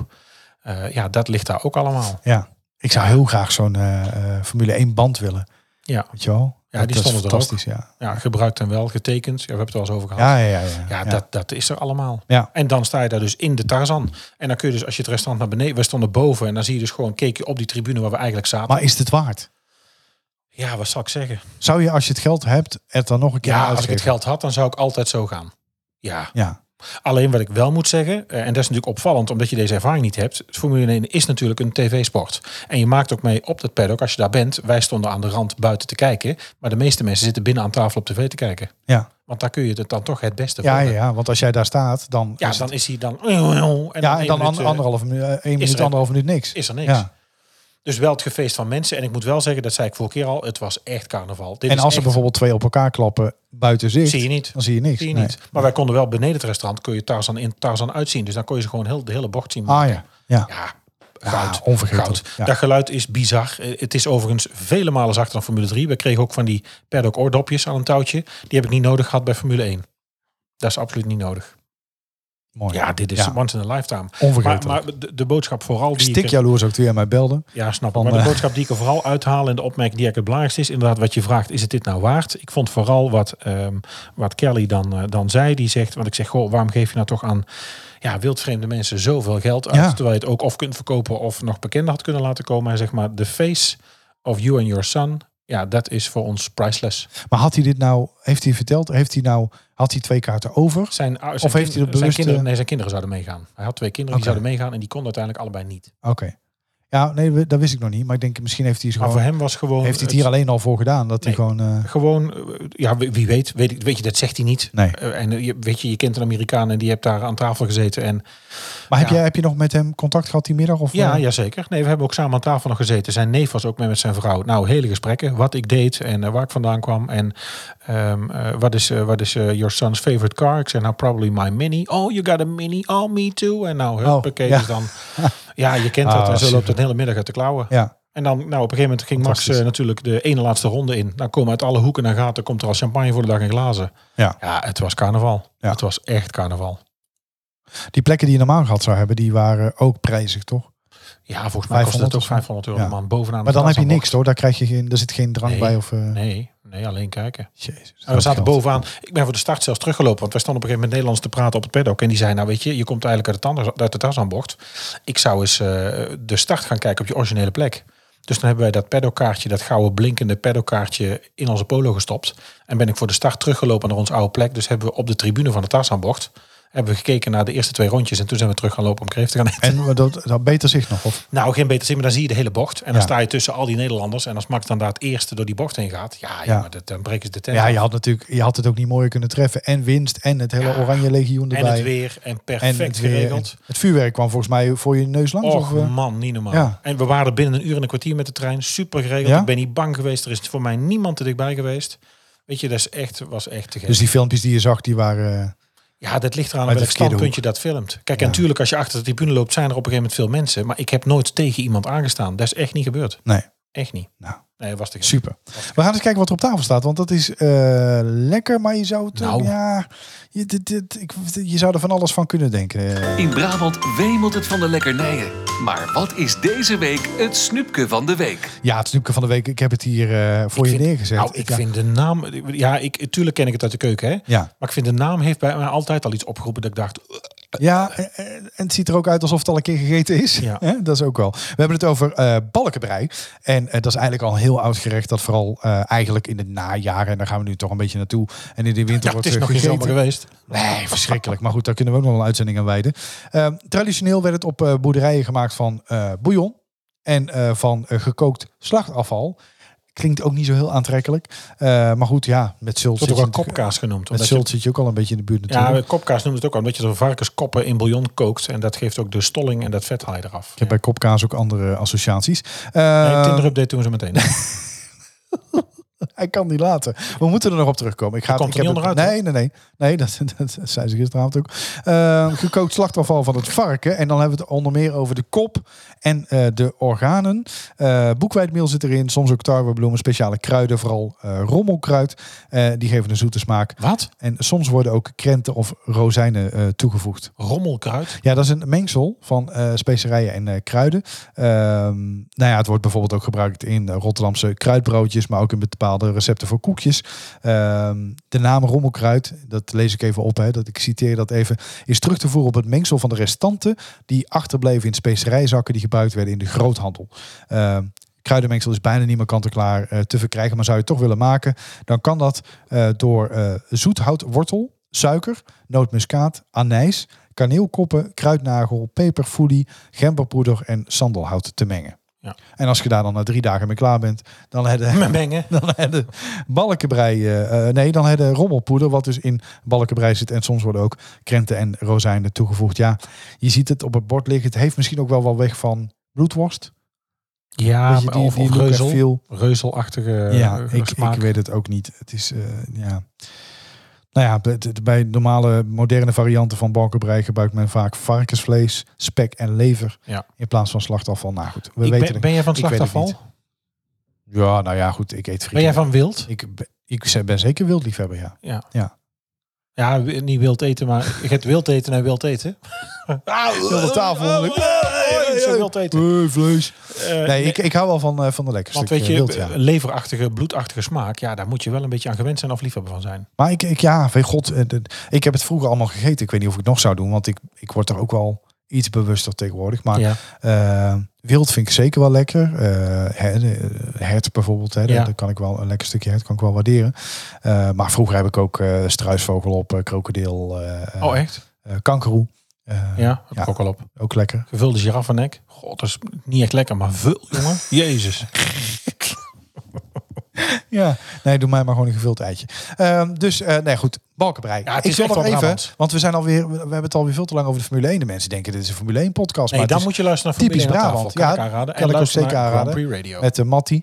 S2: Eh, ja, dat ligt daar ook allemaal.
S3: ja. Ik zou heel graag zo'n eh, eh, Formule 1 band willen,
S2: Ja,
S3: weet je wel?
S2: Ja,
S3: Dat
S2: die
S3: is
S2: stonden er
S3: fantastisch, ja.
S2: ja gebruikt en wel, getekend. Ja, we hebben het er al eens over gehad.
S3: Ja, ja, ja. Ja,
S2: Ja, dat, dat is er allemaal.
S3: Ja.
S2: En dan sta je daar dus in de Tarzan. En dan kun je dus als je het restaurant naar beneden... We stonden boven en dan zie je dus gewoon... keek je op die tribune waar we eigenlijk zaten.
S3: Maar is het waard?
S2: Ja, wat zal ik zeggen?
S3: Zou je als je het geld hebt, het dan nog een keer
S2: Ja,
S3: aan
S2: als ik het
S3: uitgeven?
S2: geld had, dan zou ik altijd zo gaan. Ja.
S3: Ja,
S2: Alleen wat ik wel moet zeggen, eh, en dat is natuurlijk opvallend omdat je deze ervaring niet hebt. Formule 1 is natuurlijk een tv-sport. En je maakt ook mee op dat paddock als je daar bent. Wij stonden aan de rand buiten te kijken. Maar de meeste mensen zitten binnen aan tafel op tv te kijken.
S3: ja.
S2: Want daar kun je het dan toch het beste voor
S3: Ja, ja,
S2: hebben.
S3: ja, want als jij daar staat, dan,
S2: Ja,
S3: is het-
S2: dan is hij dan... En
S3: ja, en dan
S2: één minuut,
S3: an-
S2: eh,
S3: anderhalf minuut, eh, één minuut,
S2: er-
S3: anderhalf minuut niks.
S2: is er niks.
S3: Ja.
S2: Dus wel het gefeest van mensen. En ik moet wel zeggen, dat zei ik vorige keer al, het was echt carnaval. Dit is
S3: En als er
S2: echt-
S3: bijvoorbeeld twee op elkaar klappen buiten zicht,
S2: Zie je niet.
S3: dan zie je niks.
S2: Zie je
S3: Nee.
S2: niet. Maar wij konden wel beneden het restaurant, kun je Tarzan in Tarzan uitzien. Dus dan kon je ze gewoon heel, de hele bocht zien.
S3: Ah ja, ja.
S2: Ja, goud.
S3: onvergetelijk.
S2: goud.
S3: Ja.
S2: Dat geluid is bizar. Eh, Het is overigens vele malen zachter dan Formule 3. We kregen ook van die paddock oordopjes aan een touwtje. Die heb ik niet nodig gehad bij Formule 1. Dat is absoluut niet nodig.
S3: Mooi.
S2: Ja, dit is
S3: Ja.
S2: once in a lifetime. Maar,
S3: Onvergetelijk.
S2: maar de, de boodschap vooral die
S3: Stik
S2: ik...
S3: jaloers ook toen jij mij belde.
S2: Ja, snap ik.
S3: Van,
S2: Maar de
S3: eh,
S2: boodschap die ik er vooral uithaal en de opmerking die ik het belangrijkste is, inderdaad wat je vraagt, is het dit nou waard? Ik vond vooral wat, ehm, wat Kelly dan, eh, dan zei, die zegt, want ik zeg, goh, waarom geef je nou toch aan ja, wildvreemde mensen zoveel geld uit,
S3: Ja.
S2: terwijl je het ook of kunt verkopen of nog bekender had kunnen laten komen. Hij zegt maar, the face of you and your son, ja, dat is voor ons priceless.
S3: Maar had hij dit nou, heeft hij verteld, heeft hij nou, had hij twee kaarten over?
S2: Zijn, eh, zijn
S3: heeft hij dat
S2: zijn
S3: bewust,
S2: Kinderen,
S3: eh,
S2: nee, zijn kinderen zouden meegaan. Hij had twee kinderen
S3: Oké.
S2: die zouden meegaan en die konden uiteindelijk allebei niet.
S3: Oké. Ja, nee, we- dat wist ik nog niet. Maar ik denk, misschien heeft hij, ze
S2: Maar voor
S3: gewoon,
S2: hem was gewoon...
S3: heeft hij het hier alleen al voor gedaan. Dat hij
S2: Nee.
S3: gewoon... eh,
S2: Gewoon, eh, ja, wie wie weet, weet, ik- weet je, dat zegt hij niet.
S3: nee.
S2: Eh, en eh, je, weet je, je kent een Amerikaan en die hebt daar aan tafel gezeten. En,
S3: Maar heb,
S2: Ja.
S3: jij, heb je nog met hem contact gehad die middag? Of,
S2: ja,
S3: eh,
S2: jazeker. Nee, we hebben ook samen aan tafel nog gezeten. Zijn neef was ook mee met zijn vrouw. Nou, hele gesprekken. Wat ik deed en eh, waar ik vandaan kwam. En ehm, eh, wat is, eh, wat is eh, your son's favorite car? Ik zei, nou, probably my mini. Oh, you got a mini. Oh, me too. En nou, huppakee.
S3: Oh, ja.
S2: Dus dan, ja, je kent dat.
S3: Ah,
S2: en zo loopt
S3: super.
S2: het een hele middag uit de klauwen.
S3: Ja,
S2: En dan, nou, op een gegeven moment ging Max
S3: Fantastisch.
S2: eh, natuurlijk de ene laatste ronde in. Dan komen uit alle hoeken en gaten, komt er al champagne voor de dag in glazen.
S3: Ja.
S2: ja het was carnaval.
S3: Ja.
S2: Het was echt carnaval.
S3: die plekken die je normaal gehad zou hebben, die waren ook prijzig, toch?
S2: Ja, volgens mij kostte
S3: 500
S2: het ook
S3: of zo.
S2: 500 euro
S3: Ja.
S2: een man bovenaan.
S3: Maar
S2: de
S3: dan heb je
S2: glazen
S3: niks, hoor. Daar, krijg je geen, daar zit geen drank
S2: Nee.
S3: bij. Of, eh,
S2: bocht. Nee, nee, alleen kijken.
S3: Jezus,
S2: En we zaten
S3: geld.
S2: bovenaan. Ik ben voor de start zelfs teruggelopen. Want wij stonden op een gegeven moment Nederlands te praten op het paddock. En die zei, nou weet je, je komt eigenlijk uit de, tandarts- uit de Tarzanbocht. Ik zou eens eh, de start gaan kijken op je originele plek. Dus dan hebben wij dat paddockkaartje, dat gouden blinkende paddockkaartje in onze polo gestopt. En ben ik voor de start teruggelopen naar onze oude plek. Dus hebben we op de tribune van de Tarzanbocht hebben we gekeken naar de eerste twee rondjes. En toen zijn we terug gaan lopen om kreeft te gaan eten.
S3: En dat, dat beter zicht nog, of?
S2: Nou, geen beter zin, maar dan zie je de hele bocht. En dan
S3: Ja.
S2: sta je tussen al die Nederlanders. En als Max dan daar het eerste door die bocht heen gaat, ja,
S3: Ja.
S2: jongen, dat, dan breken ze de tent.
S3: Ja,
S2: af.
S3: je had, natuurlijk, je had het ook niet mooier kunnen treffen. En winst en het hele
S2: Ja.
S3: Oranje Legioen
S2: en
S3: erbij.
S2: het weer en
S3: en
S2: perfect
S3: het weer.
S2: geregeld.
S3: En Het vuurwerk kwam volgens mij voor je neus langs. of,
S2: Och
S3: eh,
S2: man, niet normaal.
S3: ja.
S2: En we waren er binnen een uur en een kwartier met de trein. Super geregeld.
S3: Ja?
S2: Ik ben niet bang geweest. Er is voor mij niemand te dichtbij geweest. Weet je, dat is echt, was echt te gek.
S3: dus die filmpjes die je zag, die waren... eh,
S2: ja, dat ligt eraan
S3: Uit
S2: welk
S3: de verkeerde
S2: standpunt je dat filmt. Kijk, en natuurlijk als je achter de tribune loopt, zijn er op een gegeven moment veel mensen. Maar ik heb nooit tegen iemand aangestaan. Dat is echt niet gebeurd.
S3: nee,
S2: Echt niet.
S3: Nou.
S2: Nee, dat was te gek.
S3: super. We gaan eens kijken wat er op tafel staat. Want dat is eh, lekker, maar je zou het... ook-
S2: Nou.
S3: Ja, je, dit, dit, ik, je zou er van alles van kunnen denken. eh.
S1: In Brabant wemelt het van de lekkernijen. Maar wat is deze week het snoepje van de week?
S3: Ja, het snoepje van de week. Ik heb het hier eh, voor
S2: Ik
S3: je
S2: vind-
S3: neergezet.
S2: Nou, ik
S3: ja.
S2: vind de naam... Ja, ik, tuurlijk ken ik het uit de keuken, hè?
S3: Ja,
S2: Maar ik vind de naam heeft bij mij altijd al iets opgeroepen dat ik dacht, uh,
S3: ja en, en het ziet er ook uit alsof het al een keer gegeten is.
S2: Ja.
S3: Hè, dat is ook wel. We hebben het over eh balkenbrei. En eh, dat is eigenlijk al een heel oud gerecht. Dat vooral eh, eigenlijk in het najaar. En daar gaan we nu toch een beetje naartoe. En in de winter
S2: ja, het
S3: wordt
S2: is
S3: eh,
S2: nog geen
S3: gegeten.
S2: zomer geweest.
S3: Nee, verschrikkelijk. Maar goed, daar kunnen we ook nog een uitzending aan wijden. Ehm, traditioneel werd het op eh, boerderijen gemaakt van eh, bouillon en eh, van eh, gekookt slachtafval. Klinkt ook niet zo heel aantrekkelijk. Eh, maar goed, ja, met
S2: Het wordt ook
S3: zult zit, je
S2: wel
S3: natuurlijk-
S2: kopkaas genoemd.
S3: met
S2: Omdat je,
S3: eh, zult zit je ook al een beetje in de buurt natuurlijk.
S2: ja, kopkaas noemt het ook al, omdat je de varkenskoppen in bouillon kookt. En dat geeft ook de stolling en dat vet haal je eraf.
S3: Ik heb bij kopkaas ook andere associaties.
S2: Nee,
S3: Eh,
S2: Tinder-update doen ze meteen.
S3: Hij kan niet laten. We moeten er nog op terugkomen. Ik ga
S2: Je komt
S3: ik
S2: er
S3: heb
S2: niet
S3: het-
S2: onderuit,
S3: Nee, nee, nee. Nee, dat, dat, zei ze gisteravond ook. Eh, gekookt slachtafval van het varken. En dan hebben we het onder meer over de kop en eh, de organen. Eh boekwijdmeel zit erin. Soms ook tarwebloemen, speciale kruiden. Vooral eh, rommelkruid. Eh, die geven een zoete smaak.
S2: Wat?
S3: En soms worden ook krenten of rozijnen eh, toegevoegd.
S2: Rommelkruid?
S3: Ja, dat is een mengsel van eh, specerijen en eh, kruiden. Ehm, nou ja, het wordt bijvoorbeeld ook gebruikt in eh, Rotterdamse kruidbroodjes, maar ook in bepaalde recepten voor koekjes. Ehm, de naam rommelkruid, dat lees ik even op, hè, dat ik citeer dat even, is terug te voeren op het mengsel van de restanten die achterbleven in specerijzakken die gebruikt werden in de groothandel. Ehm, Kruidenmengsel is bijna niet meer kant-en-klaar eh, te verkrijgen, maar zou je het toch willen maken, dan kan dat eh, door eh zoethoutwortel, suiker, nootmuskaat, anijs, kaneelkoppen, kruidnagel, peperfoelie, gemberpoeder en sandelhout te mengen.
S2: Ja.
S3: En als je daar dan na drie dagen mee klaar bent, dan hebben
S2: mengen.
S3: dan hebben balkenbrei, eh, eh, nee, dan hebben rommelpoeder, wat dus in balkenbrei zit. En soms worden ook krenten en rozijnen toegevoegd. Ja, je ziet het op het bord liggen. Het heeft misschien ook wel wel weg van bloedworst.
S2: Ja,
S3: Weet je,
S2: maar of, of
S3: look en
S2: reuzel.
S3: feel.
S2: Reuzelachtige
S3: ja,
S2: eh,
S3: ik,
S2: smaak.
S3: ik weet het ook niet. Het is, eh, ja... Nou ja, bij- bij normale moderne varianten van balkenbrei gebruikt men vaak varkensvlees, spek en lever
S2: Ja.
S3: in plaats van slachtafval. Nou goed, we
S2: Ik
S3: weten
S2: ben, ben jij van
S3: Ik weet het
S2: slachtafval?
S3: niet. het. Ja, nou ja, goed, ik eet
S2: Ben
S3: frieten.
S2: jij van wild?
S3: Ik, ben- ik ben zeker wildliefhebber, ja.
S2: Ja, w- niet wild eten, maar ik heb wild eten en wild eten.
S3: Heel de tafel onder. oh,
S2: Ik zou wild eten.
S3: Hey, vlees.
S2: Eh,
S3: Nee, ik, ik hou wel van, eh, van de lekker
S2: Want
S3: stuk
S2: weet je,
S3: eh, wild, ja.
S2: leverachtige, bloedachtige smaak, ja, daar moet je wel een beetje aan gewend zijn of liefhebber van zijn.
S3: Maar ik, ik ja, weet god, eh, de- ik heb het vroeger allemaal gegeten. Ik weet niet of ik het nog zou doen, want ik, ik word er ook wel iets bewuster tegenwoordig. Maar
S2: ja.
S3: eh, wild vind ik zeker wel lekker. Eh, hè, de- hert bijvoorbeeld, hè,
S2: Ja.
S3: daar kan ik wel een lekker stukje hert kan ik wel waarderen. Eh, maar vroeger heb ik ook eh, struisvogel op, eh, krokodil, eh
S2: Oh, echt?
S3: eh, kangeroe. Eh,
S2: Ja, heb
S3: ja.
S2: ik ook al op.
S3: Ook lekker.
S2: Gevulde giraffennek. God, dat is niet echt lekker, maar vul, jongen. Jezus.
S3: Ja, nee, doe mij maar gewoon een gevuld eitje. Ehm, dus, eh, nee, goed. Balkenbrei.
S2: Ja, het
S3: ik
S2: is
S3: wil
S2: echt
S3: nog
S2: wel
S3: even,
S2: Brabants.
S3: want we zijn alweer, we hebben het alweer veel te lang over de Formule 1. De mensen denken, dit is een Formule 1 podcast.
S2: Nee,
S3: maar
S2: dan
S3: het
S2: moet je luisteren naar
S3: typisch
S2: Formule 1 aan
S3: Brabant.
S2: tafel. Kan
S3: Ja,
S2: ik aanraden.
S3: kan
S2: en
S3: ik ook
S2: luister
S3: zeker
S2: naar Grand
S3: aanraden.
S2: Prix Radio.
S3: is met de Matti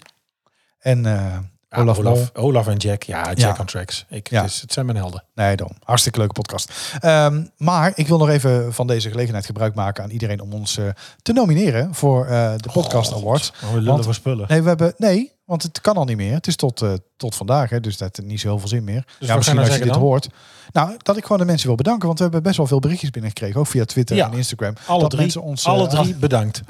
S3: en eh,
S2: Ja,
S3: Olaf Mol.
S2: Olaf, Olaf en Jack. Ja, Jack
S3: Ja.
S2: on Tracks. Ik,
S3: Ja.
S2: het, is, het zijn mijn helden.
S3: Nee, dan. Hartstikke leuke podcast. Ehm, maar ik wil nog even van deze gelegenheid gebruik maken aan iedereen om ons eh, te nomineren voor eh, de Podcast
S2: God,
S3: Awards.
S2: Oh, lullen
S3: Want-
S2: voor spullen.
S3: Nee, we hebben, nee, want het kan al niet meer. Het is tot, eh, tot vandaag, hè, dus dat heeft niet zo heel veel zin meer.
S2: Dus wat
S3: ja,
S2: gaan
S3: misschien
S2: we
S3: als je dit
S2: zeggen dan?
S3: hoort. Nou, dat ik gewoon de mensen wil bedanken, want we hebben best wel veel berichtjes binnengekregen, ook via Twitter
S2: Ja.
S3: en Instagram.
S2: alle
S3: dat
S2: drie,
S3: mensen ons
S2: alle
S3: eh,
S2: drie bedankt.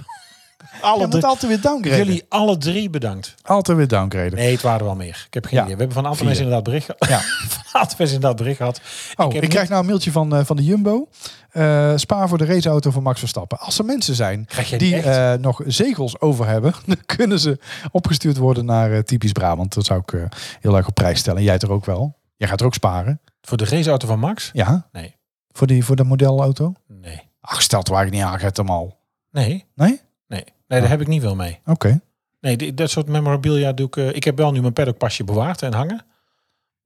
S3: Ja,
S2: alle
S3: dat
S2: drie,
S3: altijd weer downgraden.
S2: jullie alle drie bedankt.
S3: altijd weer downgraden.
S2: Nee, het waren er wel meer. Ik heb geen
S3: Ja.
S2: idee. We hebben van een aantal
S3: Vier.
S2: mensen inderdaad bericht gehad.
S3: Ja.
S2: van een aantal mensen inderdaad bericht gehad.
S3: Oh,
S2: Ik
S3: ik,
S2: heb
S3: krijg
S2: niet-
S3: nou een mailtje van, eh, van de Jumbo. Eh, spaar voor de raceauto van Max Verstappen. Als er mensen zijn
S2: Krijg jij die
S3: die
S2: echt?
S3: eh, nog zegels over hebben, dan kunnen ze opgestuurd worden naar eh, typisch Brabant. Dat zou ik eh, heel erg op prijs stellen. Jij er ook wel. Jij gaat er ook sparen.
S2: Voor de raceauto van Max?
S3: Ja.
S2: Nee.
S3: Voor, die, voor dat modelauto?
S2: Nee.
S3: Ach, stelt waar ik niet aan, gaat hem al.
S2: Nee?
S3: Nee?
S2: Nee,
S3: Oh.
S2: nee daar heb ik niet veel mee.
S3: Oké.
S2: Nee, die- dat soort memorabilia doe ik... eh, ik heb wel nu mijn paddockpasje bewaard en hangen.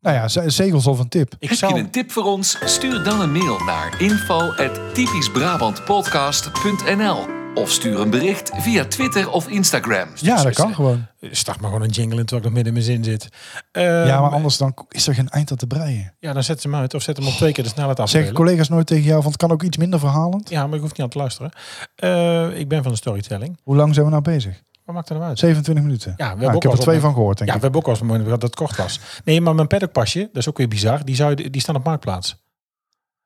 S3: Nou ja, ze- zegels of een tip.
S2: Ik
S1: Heb je
S2: zou...
S1: een tip voor ons? Stuur dan een mail naar info@typischbrabantpodcast.nl of stuur een bericht via Twitter of Instagram.
S3: Ja, dat kan gewoon.
S2: eh, Start maar gewoon een jingle in terwijl ik nog midden in mijn zin zit. Ehm,
S3: Ja, maar anders dan is er geen eind aan te breien.
S2: Ja, dan zet ze hem uit. Of zet
S3: Oh.
S2: hem op twee keer de snelheid af.
S3: Zeggen collega's nooit tegen jou, want het kan ook iets minder verhalend.
S2: Ja, maar ik hoef niet aan te luisteren. Eh, ik ben van de storytelling.
S3: Hoe lang zijn we nou bezig?
S2: Wat maakt er nou uit?
S3: 27 minuten.
S2: we hebben
S3: Nou,
S2: ook
S3: ik heb
S2: wel
S3: er twee
S2: wat-
S3: van gehoord, denk
S2: Ja,
S3: ik.
S2: we hebben ook al eens een moment gehad dat het kort was. Nee, maar mijn paddockpasje, dat is ook weer bizar, die, zou je, die staan op Marktplaats.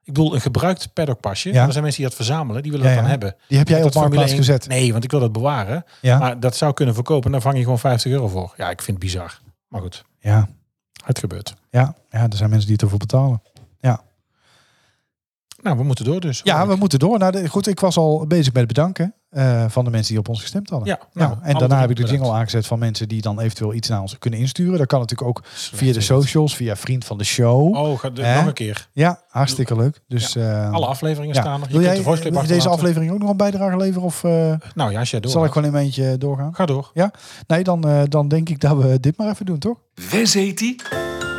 S2: Ik bedoel, een gebruikt paddockpasje.
S3: Ja.
S2: Ja. Er zijn mensen die dat verzamelen, die willen
S3: Ja,
S2: dat
S3: ja.
S2: dan hebben.
S3: Die heb jij
S2: Dat
S3: op
S2: Formule
S3: Marktplaats
S2: 1
S3: gezet.
S2: Nee, want ik wil dat bewaren.
S3: Ja.
S2: Maar dat zou kunnen verkopen, dan vang je gewoon 50 euro voor. Ja, ik vind het bizar. Maar goed,
S3: Ja,
S2: het gebeurt.
S3: ja, ja, er zijn mensen die het ervoor betalen.
S2: Nou, we moeten door dus.
S3: Ja,
S2: hoor
S3: we
S2: ik.
S3: moeten door. Nou, de- goed, ik was al bezig met het bedanken eh, van de mensen die op ons gestemd hadden.
S2: Ja,
S3: Nou,
S2: nou,
S3: en
S2: alle
S3: daarna
S2: drie
S3: heb ik de
S2: bedankt.
S3: jingle aangezet van mensen die dan eventueel iets naar ons kunnen insturen. Dat kan natuurlijk ook via de
S2: dit.
S3: socials, via vriend van de show.
S2: Oh, ga, de-
S3: Hè?
S2: nog een keer.
S3: Ja, hartstikke leuk. Dus eh,
S2: Alle afleveringen
S3: ja.
S2: staan er. Je
S3: wil
S2: kunt
S3: jij
S2: de voice clip
S3: wil je deze
S2: achterlaten.
S3: aflevering ook nog een bijdrage leveren? Of eh,
S2: Nou ja, als jij door.
S3: zal ik
S2: gaat.
S3: gewoon in mijn eentje doorgaan?
S2: Ga door.
S3: Nee, dan, eh, dan denk ik dat we dit maar even doen, toch?
S1: Wes heet die?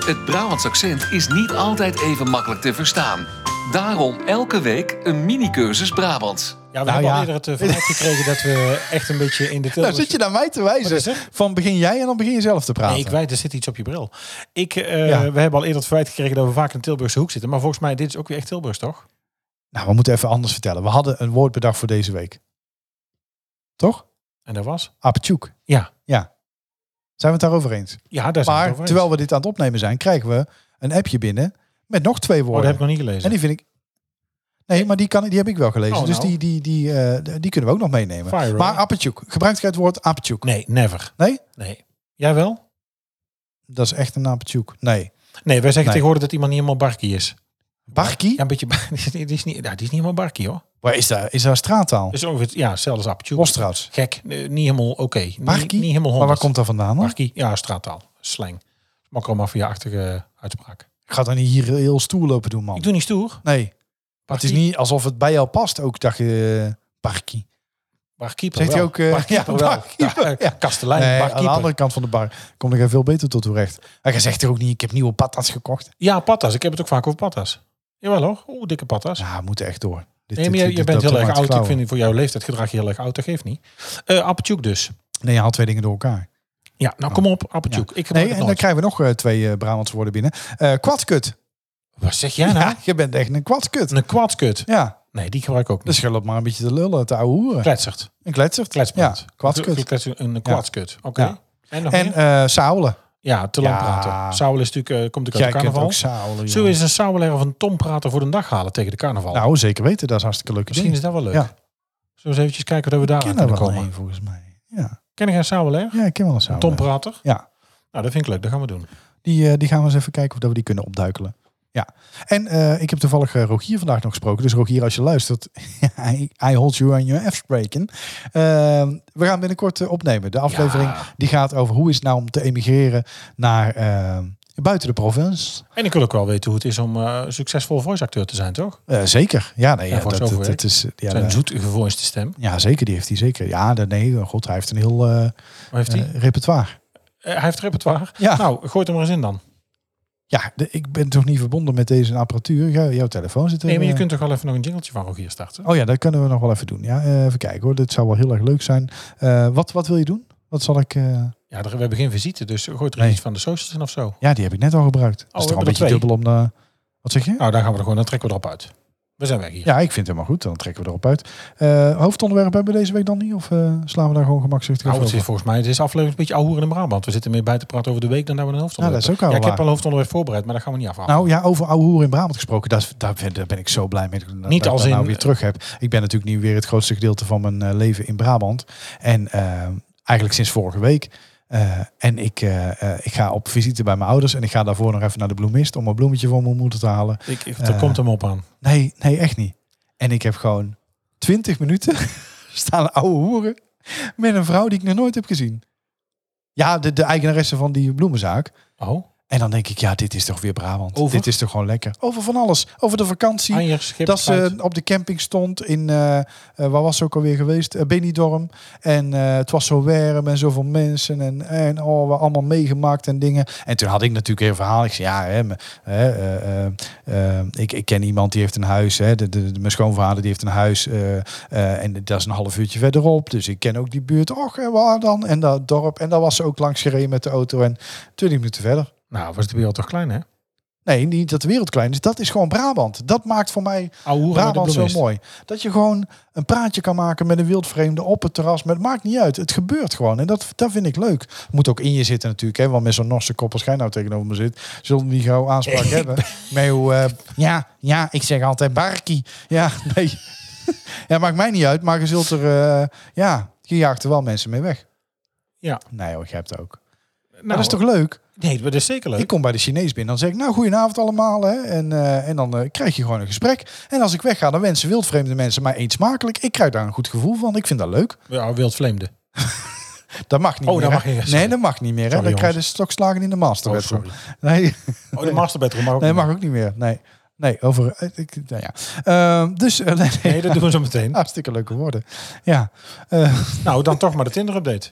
S1: Het Brabants accent is niet altijd even makkelijk te verstaan. Daarom elke week een mini-cursus Brabants.
S2: Ja, we
S3: Nou
S2: hebben
S3: ja.
S2: al eerder het eh, verwijt gekregen dat we echt een beetje in de
S3: Nou,
S2: Tilburg...
S3: zit je naar mij te
S2: Wat is
S3: wijzen.
S2: er?
S3: Van begin jij en dan begin je zelf te praten.
S2: Nee, ik weet, er zit iets op je bril. Ik, eh,
S3: Ja.
S2: We hebben al eerder het verwijt gekregen dat we vaak in Tilburgse hoek zitten. Maar volgens mij, dit is ook weer echt Tilburgs, toch?
S3: Nou, we moeten even anders vertellen. We hadden een woord bedacht voor deze week. Toch?
S2: En dat was?
S3: Aptjoek.
S2: Ja.
S3: Ja. Zijn we het daarover eens?
S2: Ja, daar zijn we het
S3: maar
S2: over eens.
S3: terwijl we dit aan het opnemen zijn, krijgen we een appje binnen met nog twee
S2: Oh, dat
S3: woorden.
S2: heb ik nog niet gelezen.
S3: en die vind ik... Nee, maar die, kan, die heb ik wel gelezen.
S2: Oh,
S3: dus
S2: nou.
S3: die, die, die, eh, die kunnen we ook nog meenemen.
S2: Viral.
S3: Maar apetjoek. Gebruikt jij het woord apetjoek?
S2: Nee, never.
S3: Nee?
S2: Nee. Jij wel?
S3: Dat is echt een apetjoek. Nee.
S2: Nee, wij zeggen
S3: Nee.
S2: tegenwoordig dat iemand niet helemaal barkie is.
S3: Barkie?
S2: Ja, een beetje... bar- Die is niet, nou, die is niet helemaal barkie, hoor.
S3: Waar is daar? Is daar straattaal?
S2: Dus ongeveer, ja, hetzelfde als Aperture.
S3: Bosstraat.
S2: Gek, eh, niet helemaal oké. Niet, niet
S3: Parkie?
S2: helemaal
S3: Maar waar
S2: 100.
S3: komt dat vandaan dan?
S2: Markie? Ja, straattaal. Slang. Makromafia-achtige uitspraak.
S3: Ik ga dan niet hier heel stoer lopen doen,
S2: Ik
S3: man.
S2: doe niet stoer.
S3: Nee. Maar het is
S2: Parkie.
S3: niet alsof het bij jou past, ook dat je eh, parkie.
S2: Barkeeper
S3: Zegt hij
S2: wel.
S3: ook, eh,
S2: barkeeper
S3: ja,
S2: wel.
S3: barkeeper,
S2: Ja, eh, Kastelein,
S3: Nee, aan de
S2: barkeeper.
S3: andere kant van de bar kom ik er veel beter tot terecht. En je zegt er ook niet, ik heb nieuwe patas gekocht.
S2: Ja, patas. Ik heb het ook vaak over patas. Jawel hoor. Oeh, dikke patas.
S3: Ja, we moeten echt door.
S2: Nee,
S3: Dit- dit-
S2: maar je,
S3: dit-
S2: je
S3: dit
S2: bent
S3: loopt
S2: heel
S3: helemaal
S2: erg oud.
S3: uit de
S2: Ik
S3: klauwen.
S2: vind voor jouw leeftijd gedrag je heel erg oud. Dat geeft niet. Eh Appeltjoek dus.
S3: Nee, je haalt twee dingen door elkaar.
S2: Ja, nou kom op. Appeltjoek. Ik gebruik
S3: Oh. Nee, en
S2: het
S3: dan
S2: nooit.
S3: krijgen we nog eh, twee eh, Brabantse woorden binnen. Eh kwadkut.
S2: Wat zeg jij nou?
S3: Ja, je bent echt een kwadkut.
S2: Een kwadkut.
S3: Ja,
S2: Nee, die gebruik ik ook niet.
S3: dus je loopt maar een beetje te lullen, te ouwe hoeren.
S2: Kletsert.
S3: Een kletsert.
S2: Kletspraat.
S3: Ja, kwadskut.
S2: Een klets- Een kwadskut. Oké.
S3: Ja.
S2: En nog
S3: En
S2: meer?
S3: eh saulen.
S2: Ja, te lang
S3: ja.
S2: praten. Sauwel is natuurlijk, eh, komt natuurlijk
S3: Jij
S2: uit de
S3: kent
S2: carnaval.
S3: ook saulen.
S2: Zo
S3: jongen.
S2: is een sauwelaar of een tomprater voor de dag halen tegen de carnaval.
S3: Nou, zeker weten. Dat is hartstikke leuk.
S2: Misschien is dat wel leuk.
S3: Ja.
S2: Zullen we eens eventjes kijken wat we daar
S3: Ik
S2: aan
S3: ken er
S2: kunnen
S3: wel
S2: komen.
S3: een, volgens mij. Ja.
S2: Ken ik een sauwelaar?
S3: ja, ik ken wel een saulen.
S2: Tom Prater?
S3: Ja.
S2: Nou, dat vind ik leuk. Dat gaan we doen.
S3: Die, eh, die gaan we eens even kijken of dat we die kunnen opduikelen. Ja, en eh, ik heb toevallig eh, Rogier vandaag nog gesproken. Dus Rogier, als je luistert, I, I hold you on your afspreken. we gaan binnenkort eh, opnemen. De aflevering
S2: Ja.
S3: die gaat over hoe is het nou om te emigreren naar eh, buiten de provincie.
S2: En ik wil ook wel weten hoe het is om eh, succesvol voice-acteur te zijn, toch?
S3: Eh, zeker. Ja, nee,
S2: Ja,
S3: ja,
S2: voor
S3: dat,
S2: zover,
S3: dat-
S2: hè?
S3: dat is, eh, ja,
S2: Zijn
S3: dat-
S2: zoete gevoiste stem.
S3: ja, zeker. Die heeft hij zeker. Ja, dat- nee, oh god, hij heeft een heel eh,
S2: Wat heeft hij?
S3: eh, repertoire.
S2: Eh, hij heeft repertoire.
S3: Ja.
S2: Nou, gooi hem er eens in dan.
S3: Ja, de- ik ben toch niet verbonden met deze apparatuur. Ja, jouw telefoon zit er.
S2: Nee, maar je
S3: eh,
S2: kunt toch wel even nog een jingletje van Rogier starten?
S3: Oh ja, dat kunnen we nog wel even doen. Ja, Eh, even kijken hoor. Dit zou wel heel erg leuk zijn. Eh, wat, wat wil je doen? Wat zal ik. eh,
S2: Ja, er- we hebben geen visite, dus gooi er
S3: Nee.
S2: iets van de socials in of zo.
S3: Ja, die heb ik net al gebruikt.
S2: Oh, we
S3: dat is toch
S2: hebben
S3: al een
S2: er
S3: beetje
S2: twee.
S3: dubbel om. de- Wat zeg je?
S2: Nou, dan gaan we er gewoon, dan trekken we erop uit. We zijn weg hier.
S3: Ja, ik vind het helemaal goed. Dan trekken we erop uit. Eh, hoofdonderwerp hebben we deze week dan niet? Of eh, slaan we daar gewoon gemakkelijk
S2: Nou,
S3: over?
S2: het is volgens mij, het is aflevering een beetje ouwe in Brabant. We zitten meer bij te praten over de week dan dat we een
S3: Ja, Nou, dat
S2: hoofdonderwerp
S3: is ook al
S2: hebben. Ja, ik
S3: waar.
S2: heb al een hoofdonderwerp voorbereid, maar dat gaan we niet afhalen.
S3: Nou ja, over ouwe hoeren in Brabant gesproken, dat, is- daar, ben, daar ben ik zo blij mee. dat-
S2: Niet
S3: dat
S2: als
S3: ik dat nou
S2: in-
S3: weer terug heb. Ik ben natuurlijk nu weer het grootste gedeelte van mijn eh, leven in Brabant. En eh, eigenlijk sinds vorige week. Eh, en ik, eh, eh, ik ga op visite bij mijn ouders en ik ga daarvoor nog even naar de bloemist om een bloemetje voor mijn moeder te halen.
S2: ik, ik,
S3: Nou, eh.
S2: er komt hem op aan.
S3: Nee, nee, echt niet. En ik heb gewoon 20 minuten staan ouwe hoeren met een vrouw die ik nog nooit heb gezien. Ja, de, de eigenaresse van die bloemenzaak.
S2: Oh,
S3: En dan denk ik, ja, dit is toch weer Brabant.
S2: Over? Ah,
S3: Dit is toch gewoon lekker. Over van alles. Over de vakantie.
S2: Anjer, schip,
S3: dat ze op de camping stond in, eh, eh, waar was ze ook alweer geweest? Eh, Benidorm. En eh, het was zo warm en zoveel mensen. En, en oh, we allemaal meegemaakt en dingen. En toen had ik natuurlijk een verhaal. Ik zei, ja, hè, me- hè, eh, eh, eh, ik, ik ken iemand die heeft een huis. Hè, de, de, de- mijn schoonvader die heeft een huis. eh, eh, en dat is een half uurtje verderop. Dus ik ken ook die buurt. Och, en waar dan? En dat dorp. En daar was ze ook langs gereden met de auto. En 20 minuten verder.
S2: Nou, was de wereld toch klein, hè?
S3: Nee, niet dat de wereld klein is. Dat is gewoon Brabant. Dat maakt voor mij
S2: Ouwe
S3: Brabant zo mooi. Dat je gewoon een praatje kan maken met een wildvreemde op het terras. Maar het maakt niet uit. Het gebeurt gewoon. En dat, dat vind ik leuk. Moet ook in je zitten natuurlijk. Hè? Want met zo'n Norse koppel schijn nou tegenover me zit. Zullen die gauw aanspraak hebben. Maar hoe, eh, ja, ja, ik zeg altijd barkie. Ja, nee. ja, maakt mij niet uit. Maar je zult er, eh, ja, je jaagt er wel mensen mee weg.
S2: Ja.
S3: Nee hoor, je hebt het ook.
S2: Nou,
S3: maar dat is toch leuk?
S2: Nee, dat is zeker leuk.
S3: Ik kom bij de Chinees binnen, dan zeg ik, nou, goedenavond allemaal. Hè. En, eh, en dan eh, krijg je gewoon een gesprek. En als ik wegga, dan wensen wildvreemde mensen mij eet smakelijk. Ik krijg daar een goed gevoel van. Ik vind dat leuk.
S2: Ja, wild vreemde.
S3: Dat mag niet
S2: Oh,
S3: meer.
S2: dat
S3: hè.
S2: mag niet, sorry.
S3: nee, dat mag niet meer. Hè.
S2: Sorry,
S3: dan krijg je
S2: jongens.
S3: de stokslagen in de
S2: Oh,
S3: master.
S2: sorry.
S3: nee,
S2: Oh, de masterbedroom mag ook.
S3: nee,
S2: niet.
S3: mag ook niet meer. Nee, nee over... eh, ik, nou ja. Ehm, dus, eh, nee, nee.
S2: Nee, dat doen we zo meteen.
S3: hartstikke leuke woorden. Ja, Eh,
S2: Nou, dan toch maar de Tinder-update.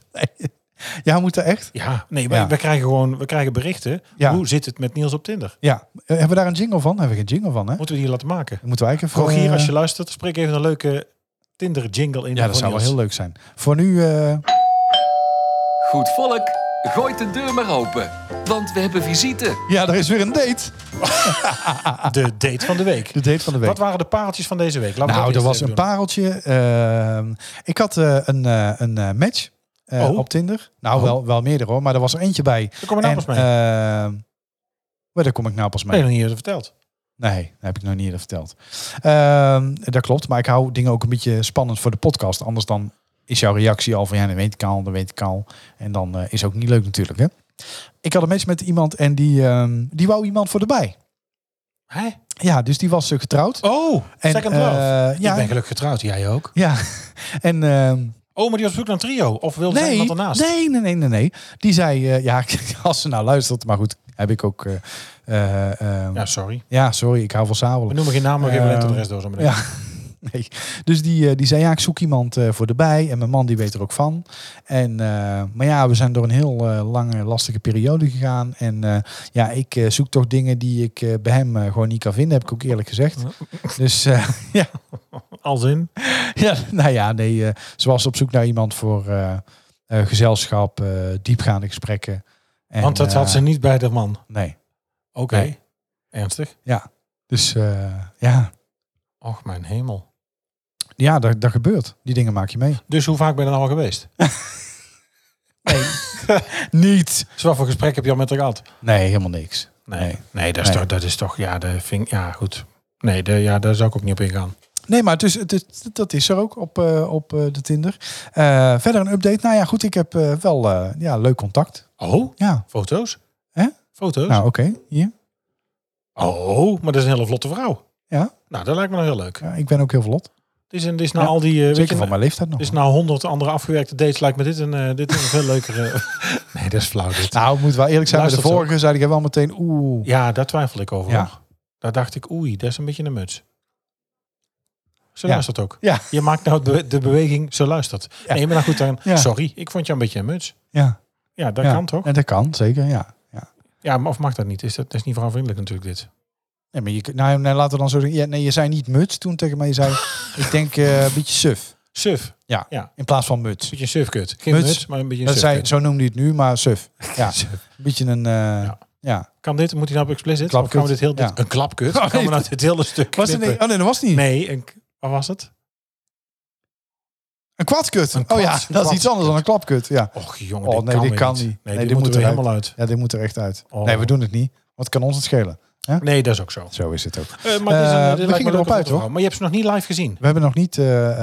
S3: ja moet dat echt?
S2: Ja, nee, maar
S3: Ja.
S2: we krijgen gewoon we krijgen berichten.
S3: Ja.
S2: Hoe zit het met Niels op Tinder?
S3: Ja. Eh, hebben we daar een jingle van? Hebben we geen jingle van, hè?
S2: Moeten we die laten maken?
S3: Moeten we eigenlijk even...
S2: Rogier, als
S3: eh,
S2: je luistert, spreek even een leuke Tinder-jingle in.
S3: Ja,
S2: voor
S3: dat zou wel
S2: Niels.
S3: heel leuk zijn. Voor nu... eh,
S1: Goed volk, gooit de deur maar open, want we hebben visite.
S3: ja, er is weer een date.
S2: De date van de week.
S3: De date van de week.
S2: Wat waren de pareltjes van deze week? Laten we
S3: nou,
S2: dat
S3: er
S2: eerst even
S3: was een
S2: doen.
S3: pareltje. Ehm, ik had eh, een, eh, een eh, match eh,
S2: Oh.
S3: op Tinder. Nou, wel, wel meerdere hoor, maar er was er eentje bij.
S2: Daar komen we nou pas mee.
S3: ehm, maar daar kom ik nou pas mee.
S2: Nee, nog niet eerder verteld.
S3: Nee, dat heb ik nog niet eerder verteld. Ehm, dat klopt, maar ik hou dingen ook een beetje spannend voor de podcast. Anders dan is jouw reactie al van ja, dan weet ik al, dan weet ik al. En dan eh, is ook niet leuk natuurlijk. Hè? Ik had een match met iemand en die, ehm, die wou iemand voor de bij.
S2: Hè?
S3: Ja, dus die was eh, getrouwd.
S2: Oh,
S3: En,
S2: second
S3: eh,
S2: love.
S3: ja.
S2: Ik ben gelukkig getrouwd, jij ook.
S3: Ja, en... ehm,
S2: Oh, maar die was op zoek naar een trio. Of wilde zij
S3: nee,
S2: iemand ernaast?
S3: nee, nee, nee, nee, nee. Die zei, eh, ja, als ze nou luistert, maar goed, heb ik ook... eh, eh, ehm,
S2: Ja,
S3: ja.
S2: sorry.
S3: sorry, ik hou van sabelen.
S2: We noemen geen namen, we geven
S3: Eh,
S2: alleen de rest door zo meteen.
S3: Ja. Nee. Dus die, eh, die zei, ja, ik zoek iemand eh, voor de bij. En mijn man die weet er ook van. En, eh, maar ja, we zijn door een heel eh, lange, lastige periode gegaan. En eh, ja, ik eh, zoek toch dingen die ik eh, bij hem eh, gewoon niet kan vinden, heb ik ook eerlijk gezegd. Dus eh, ja,
S2: Als in?
S3: ja, nou ja, nee, eh, ze was op zoek naar iemand voor eh, eh, gezelschap, eh, diepgaande gesprekken. En,
S2: Want dat
S3: eh,
S2: had ze niet bij de man.
S3: Nee.
S2: Oké.
S3: Nee.
S2: Ernstig?
S3: Dus eh, ja,
S2: Och, mijn hemel.
S3: ja dat, dat gebeurt. Die dingen maak je mee.
S2: Dus hoe vaak ben je er nou al geweest?
S3: Niet.
S2: Dus wat voor gesprek heb je al met haar gehad?
S3: Nee, helemaal niks. Nee.
S2: Nee, nee, dat, is
S3: Nee.
S2: Toch, dat is toch... Ja, de ving, ja goed. Nee, de, ja, daar zou ik ook niet op ingaan.
S3: Nee, maar het is, het is- dat is er ook op, eh, op eh, de Tinder. Eh, verder een update. Nou ja, goed, ik heb eh, wel eh, ja, leuk contact.
S2: Oh,
S3: Ja,
S2: foto's?
S3: Hè?
S2: Foto's?
S3: nou oké. Hier.
S2: Oh, maar dat is een hele vlotte vrouw.
S3: Ja.
S2: Nou, dat lijkt me nou heel leuk.
S3: Ja, ik ben ook heel vlot.
S2: Dit is, een- dit is nou
S3: Ja,
S2: al die... eh, weet je,
S3: Zeker van mijn leeftijd nog.
S2: dit is nou honderd andere afgewerkte dates. Lijkt me dit een, eh, dit een veel leukere... nee, dat is flauw dit.
S3: Nou, ik moet wel eerlijk zijn. Bij de
S2: Luistert ze
S3: vorige zei ik wel meteen oeh.
S2: Ja, daar twijfel ik over.
S3: Ja.
S2: hoor. Daar dacht ik, oei, dat is een beetje een muts. Ze
S3: Ja.
S2: luistert ook.
S3: Ja.
S2: Je maakt nou de- de beweging, ze luistert.
S3: Ja.
S2: Nee, maar nou goed dan.
S3: Ja.
S2: Sorry, ik vond jou een beetje een muts.
S3: Ja,
S2: Ja, dat
S3: ja.
S2: kan toch?
S3: En dat kan, zeker, ja. ja.
S2: Ja, maar of mag dat niet? Is dat, dat is niet vrouwvriendelijk natuurlijk dit.
S3: Nee, maar je, kunt- nou, nee, laten we dan zo zeggen. Ja, nee, je zei niet muts toen tegen mij. Je zei, ik denk eh, een beetje suf.
S2: Suf. Een
S3: In plaats van muts.
S2: beetje een sufkut. Geen
S3: Muts.
S2: muts, maar een beetje een
S3: Dat zei,
S2: sufkut.
S3: zo noemde hij het nu, maar suf. Ja, een beetje een... eh, ja.
S2: Ja. Kan dit, moet hij nou op explicit?
S3: Klapkut.
S2: Of gaan we dit heel... dit-
S3: Ja.
S2: Een klapkut?
S3: Oh,
S2: Gaan
S3: nee.
S2: we nou dit hele stuk
S3: Was het
S2: knippen?
S3: niet? Oh nee, dat was het niet.
S2: Nee, een, wat was het?
S3: Een kwadkut.
S2: Een
S3: oh ja,
S2: kwads-
S3: dat is iets
S2: kwads-
S3: anders dan een klapkut. Ja,
S2: Och jongen,
S3: Oh,
S2: dit
S3: nee,
S2: kan
S3: dit
S2: weer
S3: kan
S2: niet.
S3: niet.
S2: Nee,
S3: Nee,
S2: dit,
S3: dit
S2: moet
S3: moet
S2: er
S3: eruit.
S2: helemaal uit.
S3: ja dit moet er echt uit.
S2: Oh.
S3: Nee, we doen het niet. Wat kan ons het schelen?
S2: Nee, dat is ook zo.
S3: Zo is het ook.
S2: Eh, maar dit is een-
S3: Eh,
S2: dit
S3: we
S2: lijkt me
S3: gingen
S2: leuk
S3: erop
S2: om
S3: uit,
S2: te horen.
S3: hoor.
S2: Maar je hebt ze nog niet live gezien.
S3: We hebben nog niet... eh, eh,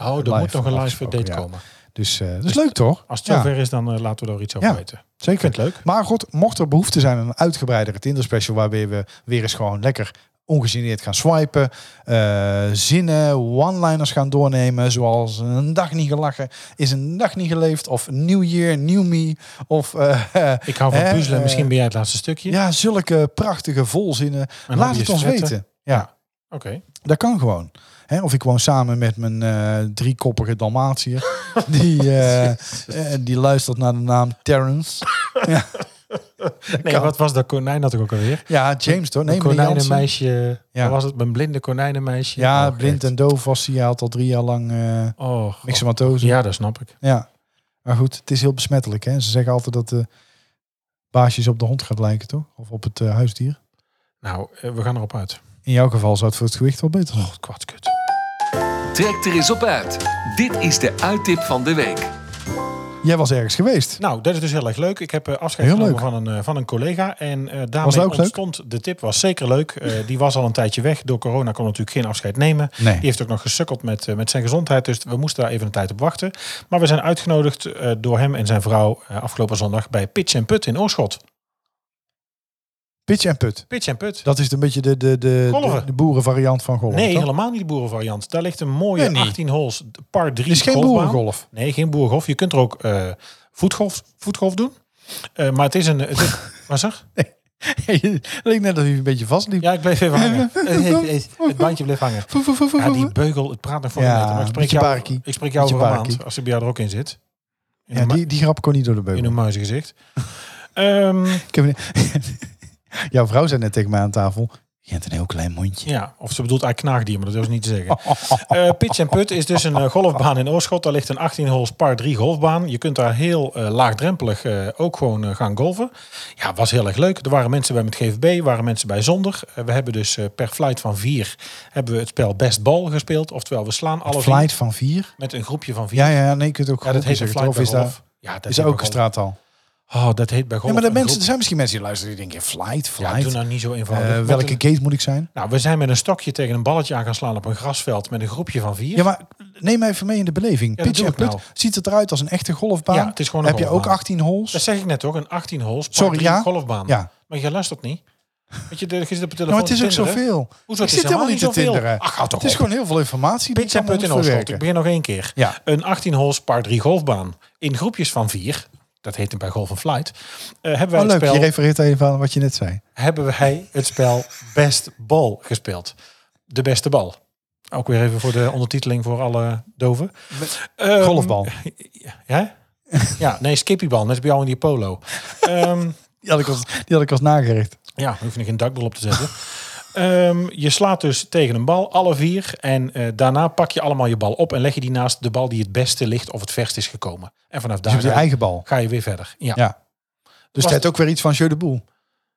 S2: Oh, er moet nog een live
S3: afgesproken,
S2: date
S3: ja.
S2: komen.
S3: Dus eh, dat is leuk, toch?
S2: Als het
S3: Ja,
S2: zover is, dan eh, laten we er iets over
S3: Ja.
S2: weten.
S3: Zeker.
S2: Vind het leuk.
S3: Maar goed, mocht er behoefte zijn aan een uitgebreidere Tinder special... waarbij we weer eens gewoon lekker ongegeneerd gaan swipen... eh, zinnen, one-liners gaan doornemen... zoals een dag niet gelachen, is een dag niet geleefd... of new year, new me... of eh,
S2: Ik hou van
S3: Hè,
S2: puzzelen.
S3: eh,
S2: Misschien ben jij het laatste stukje.
S3: ja, zulke prachtige volzinnen.
S2: Mijn
S3: Laat
S2: hobby
S3: het
S2: is
S3: ons
S2: vetten.
S3: weten. Ja,
S2: Oké.
S3: dat kan gewoon. Hè, of ik woon samen met mijn eh, driekoppige Dalmatiër. die, eh, eh, die luistert naar de naam Terrence.
S2: Nee,
S3: kan.
S2: wat was dat konijn dat ik ook alweer?
S3: Ja, James toch? Nee,
S2: een
S3: meneer Jansen.
S2: konijnenmeisje.
S3: Ja.
S2: Wat was het? Een blinde konijnenmeisje.
S3: Ja,
S2: Oh,
S3: blind
S2: echt.
S3: en doof was hij. Hij had al drie jaar lang eh
S2: Oh, god.
S3: mixomatose. Ja.
S2: ja, dat snap ik.
S3: Maar goed, het is heel besmettelijk. Hè? Ze zeggen altijd dat de baasjes op de hond gaat lijken, toch? Of op het eh, huisdier.
S2: Nou, eh, we gaan erop uit.
S3: In jouw geval zou het voor het gewicht wel beter zijn.
S2: Oh, kwartkut.
S1: Trek er eens op uit. Dit is de uittip van de week.
S3: Jij was ergens geweest.
S2: Nou, dat is dus heel erg leuk. Ik heb eh, afscheid
S3: Heel
S2: genomen van een, eh, van een collega. En eh
S3: Was dat
S2: daarmee
S3: ook leuk?
S2: ontstond de tip. Was zeker leuk. Eh, die was al een tijdje weg. Door corona kon natuurlijk geen afscheid nemen.
S3: Nee.
S2: Die heeft ook nog gesukkeld met, eh, met zijn gezondheid. Dus we moesten daar even een tijd op wachten. Maar we zijn uitgenodigd eh, door hem en zijn vrouw eh, afgelopen zondag bij Pitch en Put in Oorschot.
S3: Pitch en put.
S2: Pitch en Put.
S3: Dat is een beetje de, de, de,
S2: Golven.
S3: de, de boerenvariant van golven.
S2: nee,
S3: toch?
S2: helemaal niet de boerenvariant. Daar ligt een mooie
S3: Nee, niet.
S2: 18 holes par 3
S3: Het is geen boerengolf.
S2: Nee, geen boerengolf. Je kunt er ook eh, voetgolf, voetgolf doen. Eh, maar het is een... Het is, was er?
S3: Het leek net alsof je een beetje vastliep.
S2: Ja, ik bleef even hangen. Eh, het bandje bleef hangen.
S3: Voe, voe, voe, voe,
S2: Ja, die
S3: voe.
S2: beugel, het praat nog voor
S3: Ja,
S2: een meter. Maar ik spreek
S3: beetje
S2: jou,
S3: barkie.
S2: ik spreek jou
S3: Beetje
S2: over een
S3: barkie.
S2: maand, als de bij jou er ook in zit. In,
S3: Ja,
S2: een, ma-
S3: die, die grap kon niet door de
S2: in
S3: beugel.
S2: een muizengezicht. Ehm,
S3: Ik heb een- Jouw vrouw zei net tegen mij aan tafel... Je hebt een heel klein mondje.
S2: ja, of ze bedoelt eigenlijk knaagdier, maar dat wil ze niet zeggen. Eh, pitch en Put is dus een eh, golfbaan in Oorschot. Daar ligt een 18 holes par 3 golfbaan. Je kunt daar heel eh, laagdrempelig eh, ook gewoon eh, gaan golven. Ja, was heel erg leuk. Er waren mensen bij met GVB, er waren mensen bij zonder. Eh, we hebben dus eh, per flight van vier hebben we het spel best bal gespeeld. Oftewel, we slaan alle vier
S3: Flight van vier.
S2: met een groepje van vier.
S3: Ja, ja, ja, nee, je kunt ook
S2: Ja, dat
S3: groepen
S2: heet een
S3: zeggen,
S2: flight
S3: Of is daar,
S2: Ja, dat heet
S3: is daar ook
S2: bij
S3: een
S2: golf.
S3: straattaal?
S2: Oh, dat heet bij golf.
S3: Ja, maar de
S2: een
S3: mensen, er
S2: groep.
S3: zijn misschien mensen die luisteren die denken... Flight,
S2: Ja, doe
S3: flight.
S2: nou niet zo eenvoudig.
S3: Eh,
S2: Met
S3: welke
S2: een-
S3: gate moet ik zijn?
S2: nou, we zijn met een stokje tegen een balletje aan gaan slaan op een grasveld met een groepje van vier.
S3: Ja, maar neem mij even mee in de beleving.
S2: dat
S3: Pitch
S2: doe
S3: en
S2: ik
S3: put.
S2: nou.
S3: Ziet het eruit als een echte golfbaan?
S2: Ja, het is gewoon een
S3: Heb je ook
S2: golfbaan.
S3: 18 holes?
S2: Dat zeg ik net ook, een 18 holes par
S3: Sorry,
S2: drie
S3: ja?
S2: golfbaan.
S3: Ja.
S2: Maar je luistert niet. Weet je, er zit op de telefoon.
S3: Nou, maar het is ook
S2: te tinderen.
S3: zoveel.
S2: Hoezo,
S3: ik
S2: het is
S3: zit helemaal niet te
S2: zoveel?
S3: tinderen.
S2: Ach, ga toch
S3: het is
S2: op.
S3: gewoon heel veel informatie die ik
S2: Pizza
S3: allemaal
S2: Put in
S3: moet
S2: Oorschot. Ik begin
S3: verwerken.
S2: nog één keer.
S3: Ja.
S2: Een 18 holes par 3 golfbaan. In groepjes van vier. Dat heet hem bij Golf en Flight. eh, hebben, wij
S3: Oh,
S2: het
S3: leuk, je
S2: spel,
S3: refereert even aan wat je net zei.
S2: hebben wij het spel Best Bal gespeeld. De beste bal. Ook weer even voor de ondertiteling voor alle doven. Ehm,
S3: Golfbal.
S2: Ja? ja, nee, skippybal. Net als bij jou in die polo. Ehm,
S3: Die had ik als, die had ik als nagericht. Dus
S2: ja, hoef je er geen dakbal op te zetten. Ehm, je slaat dus tegen een bal, alle vier. En eh, daarna pak je allemaal je bal op en leg je die naast de bal die het beste ligt of het verst is gekomen. En vanaf
S3: Dus je
S2: daar
S3: hebt je
S2: ga je,
S3: eigen bal.
S2: ga je weer verder. Ja.
S3: Ja. Dus
S2: Was-
S3: dat ook weer iets van Jeu de Boel.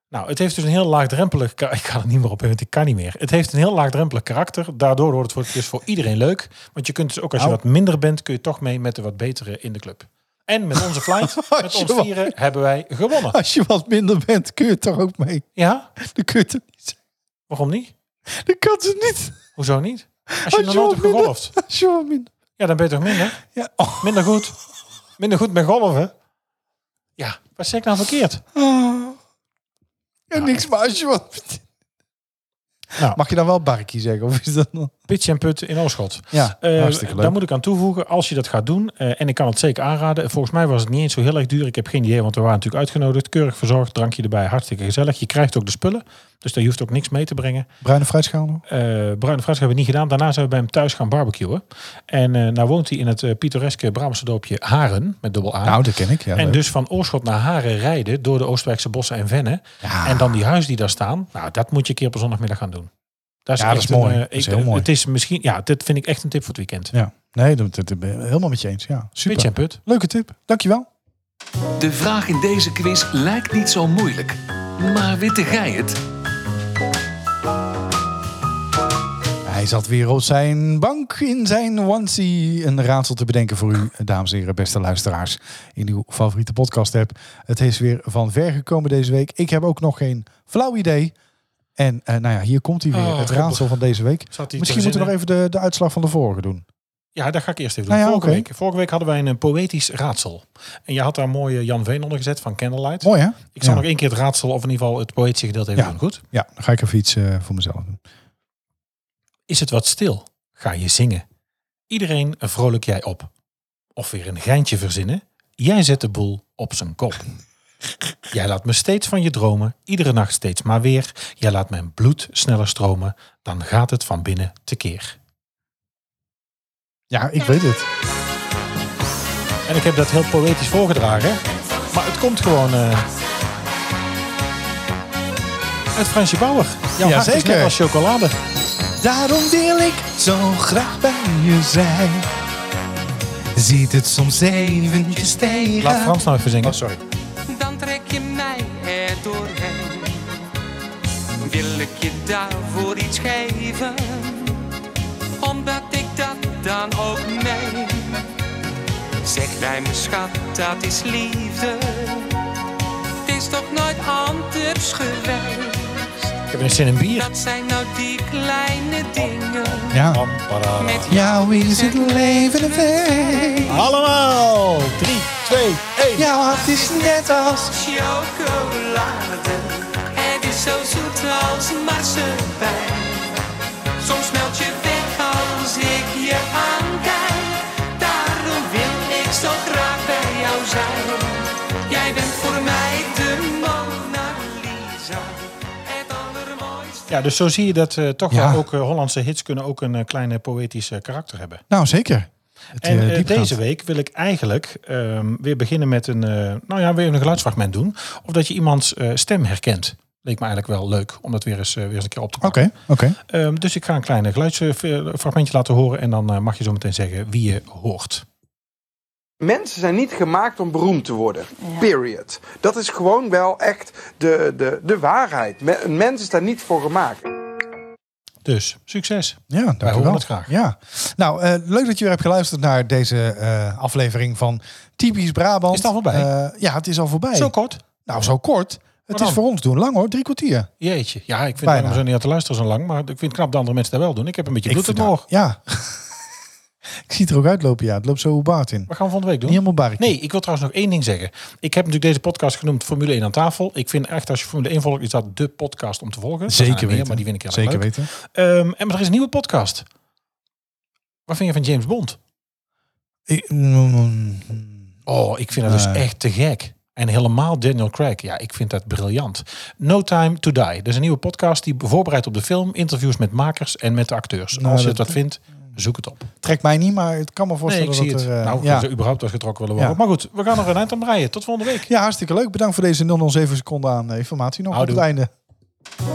S2: Nou, het heeft dus een heel laagdrempelig... ka- Ik ga er niet meer op in, want ik kan niet meer. Het heeft een heel laagdrempelig karakter. Daardoor wordt het voor, dus voor iedereen leuk. Want je kunt dus ook als je
S3: Nou.
S2: wat minder bent, kun je toch mee met de wat betere in de club. En met onze flight, met
S3: Als je
S2: ons
S3: wat-
S2: vieren, hebben wij gewonnen.
S3: Als je wat minder bent, kun je het toch ook mee.
S2: Ja,
S3: Dan kun je het niet zeggen.
S2: waarom niet?
S3: Dan kan het niet.
S2: Hoezo niet? Als je
S3: Als
S2: nog
S3: je
S2: nooit
S3: wat
S2: hebt
S3: minder-
S2: gegolfd.
S3: Als je wat minder...
S2: Ja, dan ben je toch minder?
S3: Ja. Oh.
S2: Minder goed. Minder goed met golven. Ja, wat zeg ik nou verkeerd?
S3: Ja, niks, maar als je wat...
S2: Nou.
S3: Mag je dan wel barkie zeggen? Of is dat nog...
S2: Pitch en put in Oorschot.
S3: Ja,
S2: Eh,
S3: hartstikke leuk.
S2: Daar moet ik aan toevoegen, als je dat gaat doen, eh, en ik kan het zeker aanraden. Volgens mij was het niet eens zo heel erg duur. Ik heb geen idee, want we waren natuurlijk uitgenodigd. Keurig verzorgd, drankje erbij, hartstikke gezellig. Je krijgt ook de spullen, dus daar je hoeft ook niks mee te brengen.
S3: Bruine fruitschaal nog?
S2: Eh bruine fruit hebben we niet gedaan. Daarna zijn we bij hem thuis gaan barbecuen. En eh nou woont hij in het eh, pittoreske Brabantse dorpje Haren, met dubbel A.
S3: Nou, dat ken ik. Ja,
S2: En
S3: leuk.
S2: dus van Oorschot naar Haren rijden door de Oostwijkse bossen en vennen.
S3: Ja.
S2: dus- En dan die huizen die daar staan. Nou, dat moet je een keer op een zondagmiddag gaan doen. Dat is,
S3: Ja, dat
S2: echt
S3: is mooi.
S2: een, eh,
S3: Dat is
S2: ik-
S3: heel mooi.
S2: Het is misschien, ja, dit vind ik echt een tip voor het weekend.
S3: ja. Nee, dat, dat, dat ben ik helemaal met je eens. Ja, super.
S2: Pitch en put.
S3: Leuke tip. Dankjewel.
S1: De vraag in deze quiz lijkt niet zo moeilijk. Maar witte gij het?
S3: Hij zat weer op zijn bank in zijn onesie een raadsel te bedenken voor u, dames en heren, beste luisteraars, in uw favoriete podcast app. Het is weer van ver gekomen deze week. Ik heb ook nog geen flauw idee. En eh, nou ja, hier komt hij weer,
S2: Oh,
S3: het
S2: God.
S3: raadsel van deze week.
S2: Zat hij
S3: Misschien
S2: te
S3: moeten we nog
S2: verzinnen?
S3: even de, de uitslag van de vorige doen.
S2: Ja, dat ga ik eerst even doen.
S3: Nou ja,
S2: vorige,
S3: oké.
S2: week, vorige week hadden wij een eh, poëtisch raadsel. En je had daar mooi eh, Jan Veen onder gezet van Candlelight.
S3: Mooi hè?
S2: Ik zal
S3: ja.
S2: nog één keer het raadsel, of in ieder geval het poëtische gedeelte even
S3: Ja.
S2: doen. Goed?
S3: Ja, dan ga ik even iets eh, voor mezelf doen.
S2: Is het wat stil? Ga je zingen. Iedereen vrolijk jij op. Of weer een geintje verzinnen. Jij zet de boel op zijn kop. Jij laat me steeds van je dromen, iedere nacht steeds maar weer. Jij laat mijn bloed sneller stromen, dan gaat het van binnen tekeer.
S3: Ja, ik weet het.
S2: En ik heb dat heel poëtisch voorgedragen, maar het komt gewoon eh uit Fransje Bauer. Jouw hart is
S3: Jazeker.
S2: net als chocolade.
S3: Daarom wil ik zo graag bij je zijn. Ziet het soms eventjes tegen.
S2: Laat Frans nou even zingen.
S3: Oh, sorry.
S4: dan trek je mij er doorheen. Wil ik je daarvoor iets geven, omdat ik dat dan ook meen. Zeg bij me schat, dat is liefde. Het is toch nooit anders geweest.
S2: Ik heb een zin in bier.
S4: Dat zijn nou die kleine dingen.
S3: Ja.
S2: Pam, parara.
S4: Met
S3: Jou is het leven een feest.
S2: Allemaal! 3, 2, 1.
S3: Jouw hart is net als...
S4: chocolade. Het is zo zoet als marsepein. Soms meld je weg als ik je aankijk. Daarom wil ik zo graag bij jou zijn. Jij bent voor mij de Mona Lisa. Het allermooiste.
S2: Ja, dus zo zie je dat eh, toch
S3: Ja.
S2: wel ook eh, Hollandse hits kunnen ook een eh, kleine poëtische karakter hebben.
S3: Nou, zeker. Het,
S2: En
S3: eh,
S2: eh,
S3: diepgaand.
S2: deze week wil ik eigenlijk ehm, weer beginnen met een, eh, nou ja, weer een geluidsfragment doen. Of dat je iemands eh, stem herkent. Leek me eigenlijk wel leuk om dat weer eens, eh, weer eens een keer op te
S3: Oké,
S2: pakken.
S3: oké.
S2: Ehm, dus ik ga een klein geluidsfragmentje laten horen en dan eh, mag je zo meteen zeggen wie je hoort.
S5: Mensen zijn niet gemaakt om beroemd te worden. Period. Dat is gewoon wel echt de, de, de waarheid. Me- Een mens is daar niet voor gemaakt.
S2: Dus, succes.
S3: Ja, dank u
S2: horen
S3: wel.
S2: het graag.
S3: Ja. Nou, eh, leuk dat je weer hebt geluisterd naar deze eh, aflevering van Typisch Brabant.
S2: Is het al voorbij?
S3: Eh, ja, het is al voorbij.
S2: Zo kort.
S3: nou, zo kort. Het
S2: dan?
S3: is voor ons doen lang hoor, drie kwartier.
S2: Jeetje. Ja, ik vind
S3: Bijna.
S2: het helemaal zo niet aan te luisteren zo lang. Maar ik vind het knap dat andere mensen dat wel doen. Ik heb een beetje bloed op
S3: vind
S2: mijn
S3: dat-
S2: oor.
S3: Ja. ik ziet er ook uitlopen, ja. Het loopt zo baard in.
S2: Wat gaan we van de week doen?
S3: Niet helemaal barretje.
S2: Nee, ik wil trouwens nog één ding zeggen. Ik heb natuurlijk deze podcast genoemd Formule 1 aan tafel. Ik vind echt, als je Formule 1 volgt, is dat de podcast om te volgen. Er zijn er
S3: Zeker
S2: meer,
S3: weten.
S2: Maar die vind ik heel erg
S3: Zeker
S2: leuk.
S3: weten.
S2: Ehm, en maar er is een nieuwe podcast. Wat vind je van James Bond?
S3: Ik- mm, mm.
S2: Oh, ik vind dat dus
S3: Nee.
S2: echt te gek. En helemaal Daniel Craig. Ja, ik vind dat briljant. No Time to Die. Dat is een nieuwe podcast die voorbereidt op de film. Interviews met makers en met de acteurs.
S3: Nou,
S2: Als je
S3: dat-
S2: dat vindt, zoek het op.
S3: Trekt mij niet, maar het kan me
S2: Nee,
S3: voorstellen
S2: ik zie
S3: dat
S2: het.
S3: er... eh,
S2: nou,
S3: ja.
S2: ze überhaupt als getrokken willen worden.
S3: Ja.
S2: Maar goed, we gaan er een eind aan breien. Tot volgende week.
S3: ja, hartstikke leuk. Bedankt voor deze 007 seconden aan eh, informatie nog op
S2: Houdoe.
S3: het einde.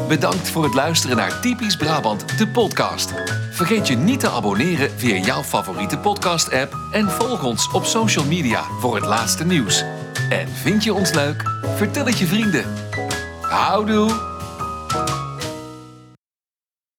S1: Bedankt voor het luisteren naar Typisch Brabant, de podcast. Vergeet je niet te abonneren via jouw favoriete podcast-app en volg ons op social media voor het laatste nieuws. En vind je ons leuk? Vertel het je vrienden. Houdoe!